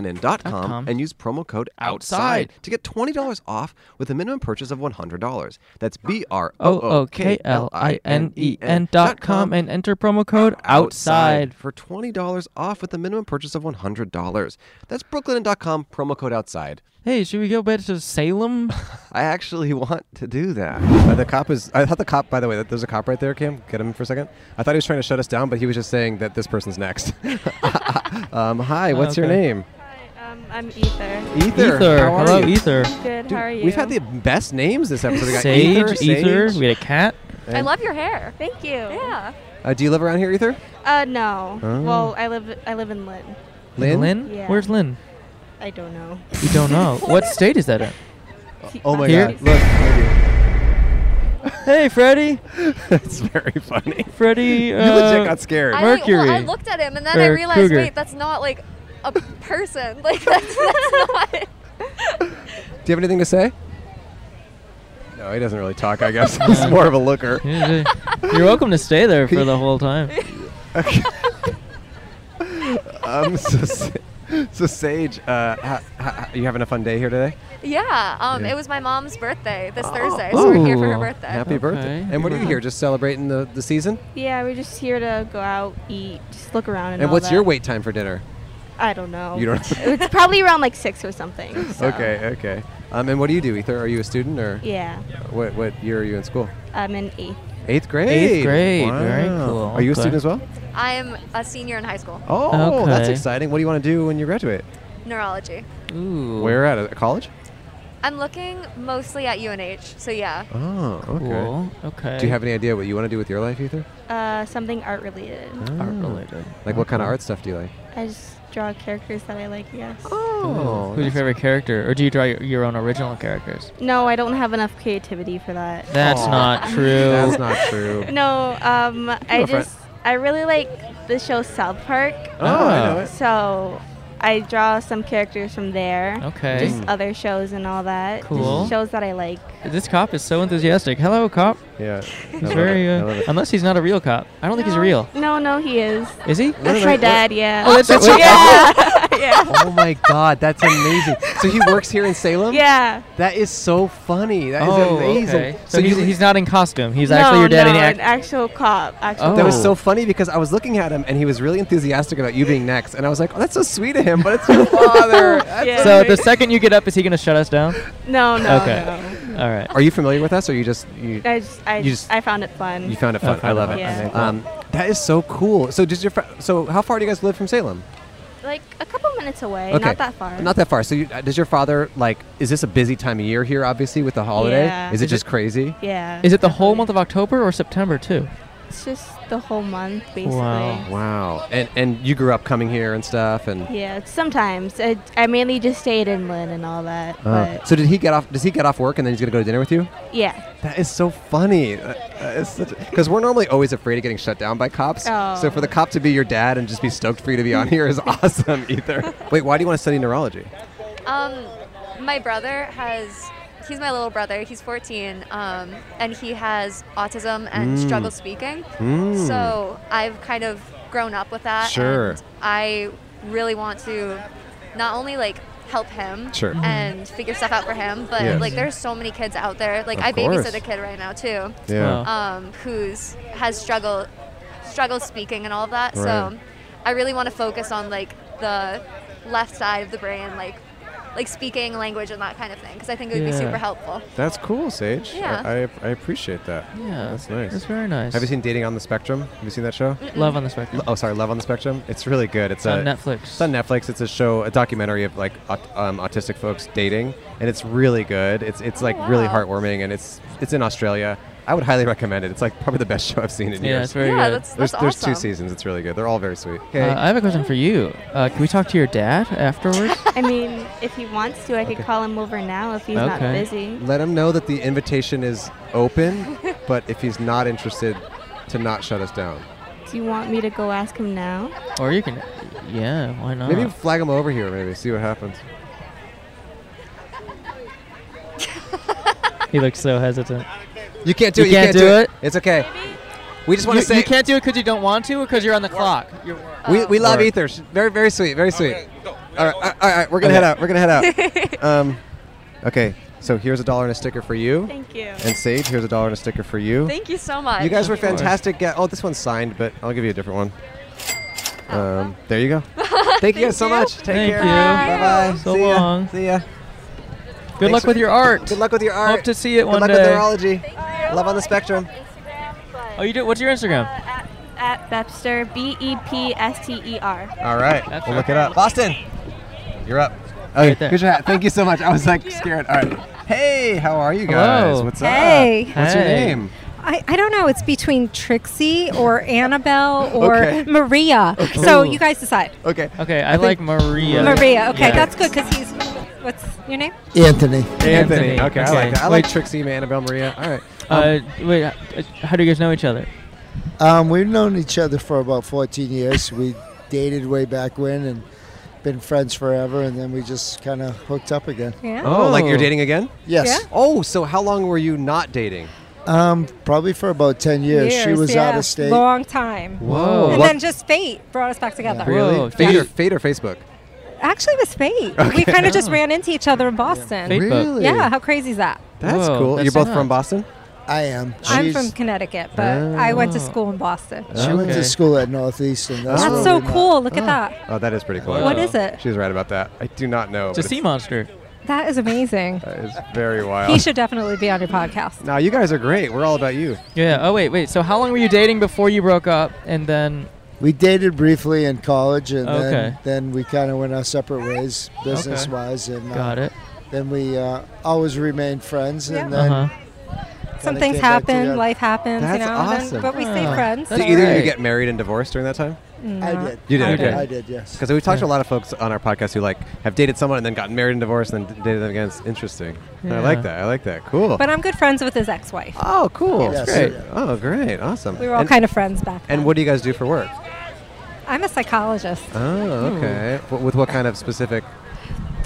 [SPEAKER 2] brooklinen.com and use promo code outside,
[SPEAKER 1] Outside.
[SPEAKER 2] to get $20 off with a minimum purchase of $100. That's B R
[SPEAKER 1] O O K L I N E N dot com and enter promo code outside.
[SPEAKER 2] for $20 off with a minimum purchase of $100. That's brooklinen.com, promo code outside.
[SPEAKER 1] Hey, should we go back to Salem?
[SPEAKER 2] I actually want to do that.
[SPEAKER 4] Uh, the cop is. I thought the cop. By the way, that there's a cop right there. Kim, get him for a second. I thought he was trying to shut us down, but he was just saying that this person's next. um, hi, what's your
[SPEAKER 1] Oh, Okay.
[SPEAKER 4] name?
[SPEAKER 8] Hi, um, I'm Ether.
[SPEAKER 4] Ether.
[SPEAKER 1] Ether.
[SPEAKER 4] How are
[SPEAKER 1] Hello,
[SPEAKER 4] you?
[SPEAKER 1] Ether.
[SPEAKER 8] Good.
[SPEAKER 4] Dude,
[SPEAKER 8] how are you?
[SPEAKER 4] We've had the best names this episode. We got
[SPEAKER 1] Sage,
[SPEAKER 4] Ether.
[SPEAKER 1] Ether.
[SPEAKER 4] Sage.
[SPEAKER 1] We had a cat.
[SPEAKER 7] I love your hair.
[SPEAKER 8] Thank you.
[SPEAKER 7] Yeah.
[SPEAKER 4] Uh, do you live around here, Ether?
[SPEAKER 8] Uh, no.
[SPEAKER 4] Oh.
[SPEAKER 8] Well, I live I live in Lynn.
[SPEAKER 4] Lynn?
[SPEAKER 1] Lynn?
[SPEAKER 8] Yeah.
[SPEAKER 1] Where's Lynn?
[SPEAKER 8] I don't know.
[SPEAKER 1] We don't know. what state is that in?
[SPEAKER 4] Oh my
[SPEAKER 1] Here.
[SPEAKER 4] God! Look, look
[SPEAKER 1] Hey, Freddy.
[SPEAKER 4] at you. it's very funny.
[SPEAKER 1] Freddy.
[SPEAKER 4] You legit
[SPEAKER 1] Uh,
[SPEAKER 4] got scared.
[SPEAKER 7] I, like, well, I
[SPEAKER 1] Mercury.
[SPEAKER 7] looked at him and then I
[SPEAKER 1] Or
[SPEAKER 7] realized,
[SPEAKER 1] cougar.
[SPEAKER 7] wait, that's not like a person. Like that's, that's not.
[SPEAKER 4] Do you have anything to say? No, he doesn't really talk. I guess he's more of a looker.
[SPEAKER 1] You're welcome to stay there for the whole time.
[SPEAKER 4] Um, so, Sa- so Sage, uh, ha, ha, you having a fun day here today?
[SPEAKER 7] Yeah. Um,
[SPEAKER 4] Yeah. Oh.
[SPEAKER 7] it was my mom's birthday this Thursday, so we're here for her
[SPEAKER 1] Ooh.
[SPEAKER 7] birthday.
[SPEAKER 4] Happy birthday! And what are you here? Just celebrating the, the season?
[SPEAKER 8] Yeah, we're just here to go out, eat, just look around, and,
[SPEAKER 4] And
[SPEAKER 8] all
[SPEAKER 4] what's your
[SPEAKER 8] that.
[SPEAKER 4] wait time for dinner?
[SPEAKER 8] I don't know.
[SPEAKER 4] You don't-
[SPEAKER 8] it's probably around like six or something. so.
[SPEAKER 4] Okay, okay. Um, and what do you do, Ether? Are you a student or
[SPEAKER 8] Yeah,
[SPEAKER 4] what? What year are you in school?
[SPEAKER 8] I'm in eighth.
[SPEAKER 4] Eighth grade.
[SPEAKER 1] Eighth grade, very
[SPEAKER 4] Wow.
[SPEAKER 1] cool,
[SPEAKER 4] Are you a
[SPEAKER 1] okay.
[SPEAKER 4] student as well?
[SPEAKER 7] I'm a senior in high school.
[SPEAKER 4] Oh, that's
[SPEAKER 1] Okay.
[SPEAKER 4] exciting. What do you want to do when you graduate?
[SPEAKER 1] Oh.
[SPEAKER 7] Neurology.
[SPEAKER 1] Ooh.
[SPEAKER 4] Where at? A college?
[SPEAKER 7] I'm looking mostly at UNH. So yeah.
[SPEAKER 4] Oh, okay.
[SPEAKER 1] Cool. Okay.
[SPEAKER 4] Do you have any idea what you want to do with your life, Ether?
[SPEAKER 8] Uh, something art related.
[SPEAKER 1] art
[SPEAKER 4] Oh.
[SPEAKER 1] related?
[SPEAKER 4] Like what kind of art stuff do you like?
[SPEAKER 8] I just draw characters that I like. Yes.
[SPEAKER 4] Oh,
[SPEAKER 1] Who's your favorite character, or do you draw your, your own original characters?
[SPEAKER 8] No, I don't have enough creativity for that.
[SPEAKER 1] That's
[SPEAKER 4] Aw.
[SPEAKER 1] not true.
[SPEAKER 4] that's not true.
[SPEAKER 8] No, um, I
[SPEAKER 4] a friend.
[SPEAKER 8] just I really like the show South Park,
[SPEAKER 4] Oh, I
[SPEAKER 1] Ah.
[SPEAKER 4] know it.
[SPEAKER 8] so I draw some characters from there.
[SPEAKER 1] Okay.
[SPEAKER 8] Just other shows and all that.
[SPEAKER 1] Cool.
[SPEAKER 8] Just shows that I like.
[SPEAKER 1] This cop is so enthusiastic. Hello, cop.
[SPEAKER 4] Yeah.
[SPEAKER 1] He's very. Uh, unless he's not a real cop. I don't think he's real.
[SPEAKER 8] No, no, he is.
[SPEAKER 1] Is he?
[SPEAKER 8] That's my dad. Yeah.
[SPEAKER 1] Oh, that's that's your
[SPEAKER 4] oh my god, that's amazing. So he works here in Salem?
[SPEAKER 8] yeah.
[SPEAKER 4] That is so funny. That is amazing.
[SPEAKER 1] okay. So,
[SPEAKER 4] you-
[SPEAKER 1] he's, he's not in costume. He's actually your dad.
[SPEAKER 8] no,
[SPEAKER 1] and he
[SPEAKER 8] an
[SPEAKER 1] act-
[SPEAKER 8] actual cop. Actual
[SPEAKER 1] Oh.
[SPEAKER 4] that was so funny because I was looking at him and he was really enthusiastic about you being next, and I was like, "Oh, that's so sweet of him," but it's your father. That's-
[SPEAKER 8] Yeah.
[SPEAKER 1] so the second you get up, is he gonna shut us down?
[SPEAKER 8] No, no,
[SPEAKER 1] Okay.
[SPEAKER 8] no.
[SPEAKER 1] All right.
[SPEAKER 4] Are you familiar with us, or you just you?
[SPEAKER 8] I just, I
[SPEAKER 4] You just-
[SPEAKER 8] I found it fun.
[SPEAKER 4] You found it fun.
[SPEAKER 1] Okay.
[SPEAKER 4] I love it.
[SPEAKER 8] Yeah. Okay,
[SPEAKER 4] Um, that is so cool. So, does your fr- so how far do you guys live from Salem?
[SPEAKER 8] like a couple minutes away,
[SPEAKER 4] Okay.
[SPEAKER 8] not that far.
[SPEAKER 4] Not that far. So, you, uh, does your father like? Is this a busy time of year here? Obviously, with the holiday,
[SPEAKER 8] Yeah.
[SPEAKER 4] is it
[SPEAKER 1] Is
[SPEAKER 4] just
[SPEAKER 1] it-
[SPEAKER 4] crazy?
[SPEAKER 8] yeah.
[SPEAKER 1] Is it the whole month of October or September too?
[SPEAKER 8] It's just the whole month, basically.
[SPEAKER 1] Wow.
[SPEAKER 4] Wow. And and you grew up coming here and stuff, and
[SPEAKER 8] Yeah, sometimes I, I mainly just stayed in Lynn and all that.
[SPEAKER 1] Oh.
[SPEAKER 4] Uh,
[SPEAKER 8] but
[SPEAKER 4] so did he get off? Does he get off work and then he's gonna go to dinner with you?
[SPEAKER 8] yeah,
[SPEAKER 4] That is so funny. Because we're normally always afraid of getting shut down by cops.
[SPEAKER 8] Oh.
[SPEAKER 4] So for the cop to be your dad and just be stoked for you to be on here is awesome. Either. Wait, why do you want to study neurology?
[SPEAKER 7] Um, my brother has. He's my little brother. He's 14, um, and he has autism and struggles speaking. So I've kind of grown up with that.
[SPEAKER 4] Sure.
[SPEAKER 7] and I really want to not only like help him
[SPEAKER 4] Sure. Mhm.
[SPEAKER 7] and figure stuff out for him, but
[SPEAKER 4] Yes.
[SPEAKER 7] like there's so many kids out there. Like
[SPEAKER 4] Of
[SPEAKER 7] I
[SPEAKER 4] course.
[SPEAKER 7] babysit a kid right now too,
[SPEAKER 1] Yeah.
[SPEAKER 7] um, who's has struggle struggles speaking and all of that.
[SPEAKER 4] Right.
[SPEAKER 7] So I really want to focus on like the left side of the brain, like like speaking language and that kind of thing, because I think it would
[SPEAKER 1] Yeah.
[SPEAKER 7] be super helpful.
[SPEAKER 9] That's cool, Sage.
[SPEAKER 7] Yeah.
[SPEAKER 9] I, I, I appreciate that.
[SPEAKER 1] Yeah.
[SPEAKER 9] That's nice.
[SPEAKER 1] That's very nice.
[SPEAKER 4] Have you seen Dating on the Spectrum? Have you seen that show?
[SPEAKER 1] Love on the spectrum.
[SPEAKER 4] Oh, sorry, Love on the Spectrum. It's really good. It's
[SPEAKER 1] It's on
[SPEAKER 4] a
[SPEAKER 1] Netflix.
[SPEAKER 4] It's on Netflix. It's a show, a documentary of like aut- um, autistic folks dating, and it's really good. It's it's like really
[SPEAKER 7] Oh, wow.
[SPEAKER 4] heartwarming, and it's it's in Australia. I would highly recommend it. It's like probably the best show I've seen in
[SPEAKER 1] yeah,
[SPEAKER 4] years.
[SPEAKER 1] it's very
[SPEAKER 7] yeah,
[SPEAKER 1] good.
[SPEAKER 7] that's,
[SPEAKER 4] there's
[SPEAKER 7] that's
[SPEAKER 4] there's
[SPEAKER 7] awesome.
[SPEAKER 4] two seasons. It's really good. They're all very sweet. Okay.
[SPEAKER 1] Uh, I have a question for you. Uh, can we talk to your dad afterwards?
[SPEAKER 8] I mean, if he wants to, I could call him over now if he's not
[SPEAKER 1] Okay.
[SPEAKER 8] busy.
[SPEAKER 4] Let him know that the invitation is open, but if he's not interested, to not shut us down.
[SPEAKER 8] Do you want me to go ask him now?
[SPEAKER 1] Or you can, yeah, why not?
[SPEAKER 4] Maybe flag him over here. Maybe see what happens.
[SPEAKER 1] he looks so hesitant.
[SPEAKER 4] You can't do
[SPEAKER 1] You
[SPEAKER 4] it. You can't,
[SPEAKER 1] can't do it?
[SPEAKER 4] It's okay. We just want
[SPEAKER 1] You,
[SPEAKER 4] to say
[SPEAKER 1] you can't do it because you don't want to, or because you're on the clock. You're
[SPEAKER 4] We, we love
[SPEAKER 1] Work.
[SPEAKER 4] Ether. She's Very very sweet. Very sweet. All right, all right, all right, we're gonna head
[SPEAKER 1] Okay.
[SPEAKER 4] out. We're gonna head out. um, okay, so here's a dollar and a sticker for you.
[SPEAKER 8] Thank you.
[SPEAKER 4] And Sage, here's a dollar and a sticker for you.
[SPEAKER 7] Thank you so much.
[SPEAKER 4] you guys were
[SPEAKER 7] Thank
[SPEAKER 4] fantastic. Ga- oh, this one's signed, but I'll give you a different one. Um, there you go. Thank you guys so
[SPEAKER 7] you.
[SPEAKER 4] much. Take
[SPEAKER 1] Thank
[SPEAKER 4] care.
[SPEAKER 1] you.
[SPEAKER 4] Bye bye.
[SPEAKER 1] So
[SPEAKER 4] See ya.
[SPEAKER 1] long.
[SPEAKER 4] See ya.
[SPEAKER 1] Good
[SPEAKER 4] Thanks
[SPEAKER 1] luck
[SPEAKER 4] for-
[SPEAKER 1] with your art.
[SPEAKER 4] Good luck with your art.
[SPEAKER 1] Hope to see it
[SPEAKER 4] Good
[SPEAKER 1] one
[SPEAKER 4] luck
[SPEAKER 1] day.
[SPEAKER 4] with neurology. Love on the spectrum.
[SPEAKER 1] Oh, you do. What's your Instagram?
[SPEAKER 8] at, at Bepster, B E P S T E R.
[SPEAKER 4] All right.
[SPEAKER 1] That's
[SPEAKER 4] we'll
[SPEAKER 1] right.
[SPEAKER 4] look it up. Boston, you're up. Okay,
[SPEAKER 1] Right there.
[SPEAKER 4] here's your hat. Thank you so much. I was like scared. All right. Hey, how are you guys?
[SPEAKER 1] Hello.
[SPEAKER 4] What's
[SPEAKER 10] Hey.
[SPEAKER 4] up? What's your
[SPEAKER 1] Hey.
[SPEAKER 4] name?
[SPEAKER 10] I, I don't know. It's between Trixie or Annabelle or
[SPEAKER 4] Okay.
[SPEAKER 10] Maria. So
[SPEAKER 1] Ooh.
[SPEAKER 10] you guys decide.
[SPEAKER 4] Okay.
[SPEAKER 1] Okay, I, like Maria.
[SPEAKER 10] Maria. Okay,
[SPEAKER 1] Yeah.
[SPEAKER 10] that's good because he's. What's your name?
[SPEAKER 11] Anthony.
[SPEAKER 4] Anthony.
[SPEAKER 1] Anthony.
[SPEAKER 4] Okay, I
[SPEAKER 1] Okay.
[SPEAKER 4] like that. I like
[SPEAKER 1] Wait.
[SPEAKER 4] Trixie, Annabelle, Maria. All right. Um,
[SPEAKER 1] Uh, wait, uh, how do you guys know each other?
[SPEAKER 11] Um, we've known each other for about 14 years. We dated way back when and been friends forever, and then we just kind of hooked up again.
[SPEAKER 10] Yeah.
[SPEAKER 4] Oh, like you're
[SPEAKER 1] Oh.
[SPEAKER 4] dating again?
[SPEAKER 11] Yes.
[SPEAKER 4] Oh, so how long were you not dating?
[SPEAKER 11] Um, probably for about 10 years. she was out
[SPEAKER 10] yeah.
[SPEAKER 11] of state.
[SPEAKER 10] Long time.
[SPEAKER 1] Whoa.
[SPEAKER 10] And
[SPEAKER 4] What-
[SPEAKER 10] then just fate brought us back together.
[SPEAKER 1] Really?
[SPEAKER 4] Really?
[SPEAKER 1] Whoa,
[SPEAKER 4] Fate, or,
[SPEAKER 1] fate.
[SPEAKER 4] fate or Facebook?
[SPEAKER 10] Actually, it was fate. We kind of just ran into each other in Boston.
[SPEAKER 1] Facebook.
[SPEAKER 11] Really?
[SPEAKER 10] Yeah, how crazy is that?
[SPEAKER 4] That's
[SPEAKER 1] Whoa,
[SPEAKER 4] cool.
[SPEAKER 1] that's
[SPEAKER 4] You're both
[SPEAKER 1] so
[SPEAKER 4] from
[SPEAKER 1] nice.
[SPEAKER 4] Boston?
[SPEAKER 11] I am. She's,
[SPEAKER 10] I'm from Connecticut, but I went to
[SPEAKER 1] Oh.
[SPEAKER 10] school in Boston.
[SPEAKER 11] She went
[SPEAKER 1] Okay.
[SPEAKER 11] to school at Northeastern. That's,
[SPEAKER 10] That's
[SPEAKER 11] where
[SPEAKER 10] so
[SPEAKER 11] we met.
[SPEAKER 10] cool. Look at that.
[SPEAKER 4] Oh, that is pretty cool.
[SPEAKER 1] Wow.
[SPEAKER 10] What
[SPEAKER 1] Oh.
[SPEAKER 10] is it?
[SPEAKER 4] She's right about that. I do not know.
[SPEAKER 1] It's a
[SPEAKER 4] but
[SPEAKER 1] sea monster.
[SPEAKER 10] That is amazing.
[SPEAKER 4] That is very wild.
[SPEAKER 10] He should definitely be on your podcast.
[SPEAKER 4] Now you guys are great. We're all about you.
[SPEAKER 1] Yeah. Oh wait, wait. So how long were you dating before you broke up, and then?
[SPEAKER 11] We dated briefly in college, and
[SPEAKER 1] Okay.
[SPEAKER 11] then, then we kind of went our separate ways business wise. And uh,
[SPEAKER 1] Got it.
[SPEAKER 11] then we uh, always remained friends. And
[SPEAKER 10] Yeah.
[SPEAKER 1] Uh
[SPEAKER 11] then
[SPEAKER 1] huh.
[SPEAKER 4] Uh-huh.
[SPEAKER 10] Some
[SPEAKER 11] kinda
[SPEAKER 10] things
[SPEAKER 11] came back
[SPEAKER 10] happen,
[SPEAKER 11] together.
[SPEAKER 10] life happens,
[SPEAKER 4] That's
[SPEAKER 10] you know, and Um, then-
[SPEAKER 4] awesome.
[SPEAKER 10] but we stay
[SPEAKER 1] Yeah.
[SPEAKER 10] friends.
[SPEAKER 1] That's
[SPEAKER 4] Did
[SPEAKER 10] so-
[SPEAKER 4] either of you
[SPEAKER 1] right.
[SPEAKER 4] get married and divorced during that time?
[SPEAKER 11] I did.
[SPEAKER 4] You did,
[SPEAKER 11] I
[SPEAKER 1] okay.
[SPEAKER 11] I did, yes.
[SPEAKER 4] Because we've talked to a lot of folks on our podcast who like have dated someone and then gotten married and divorced and then dated them again. It's interesting. I like
[SPEAKER 1] Yeah.
[SPEAKER 4] that. I like that. Cool.
[SPEAKER 10] But I'm good friends with his ex-wife.
[SPEAKER 4] oh, cool.
[SPEAKER 11] Yes.
[SPEAKER 4] great.
[SPEAKER 11] Yeah.
[SPEAKER 4] Oh, great. Awesome.
[SPEAKER 10] We were all
[SPEAKER 4] and,
[SPEAKER 10] kind of friends back then.
[SPEAKER 4] And what do you guys do for work?
[SPEAKER 10] I'm a psychologist,
[SPEAKER 4] Oh, okay. Wh- with what kind of specific?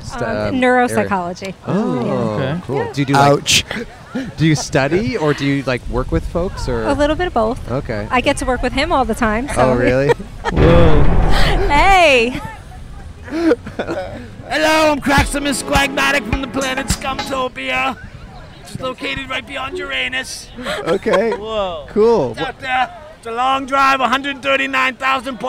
[SPEAKER 4] stu-
[SPEAKER 10] Hmm. um,
[SPEAKER 4] um, area?
[SPEAKER 10] neuropsychology.
[SPEAKER 4] Oh,
[SPEAKER 1] Okay.
[SPEAKER 4] cool. Do you do like,
[SPEAKER 11] Ouch.
[SPEAKER 4] do you study or do you like work with folks or?
[SPEAKER 10] A little bit of both.
[SPEAKER 4] Okay.
[SPEAKER 10] I get to work with him all the time. So.
[SPEAKER 4] oh, really?
[SPEAKER 1] Whoa.
[SPEAKER 10] hey,
[SPEAKER 3] Hello, I'm Craximus Squagmatic from the planet Scumtopia. It's located right beyond Uranus.
[SPEAKER 4] okay.
[SPEAKER 1] Whoa.
[SPEAKER 4] Cool. Wh-
[SPEAKER 3] Out there, it's a long drive, 139,000.17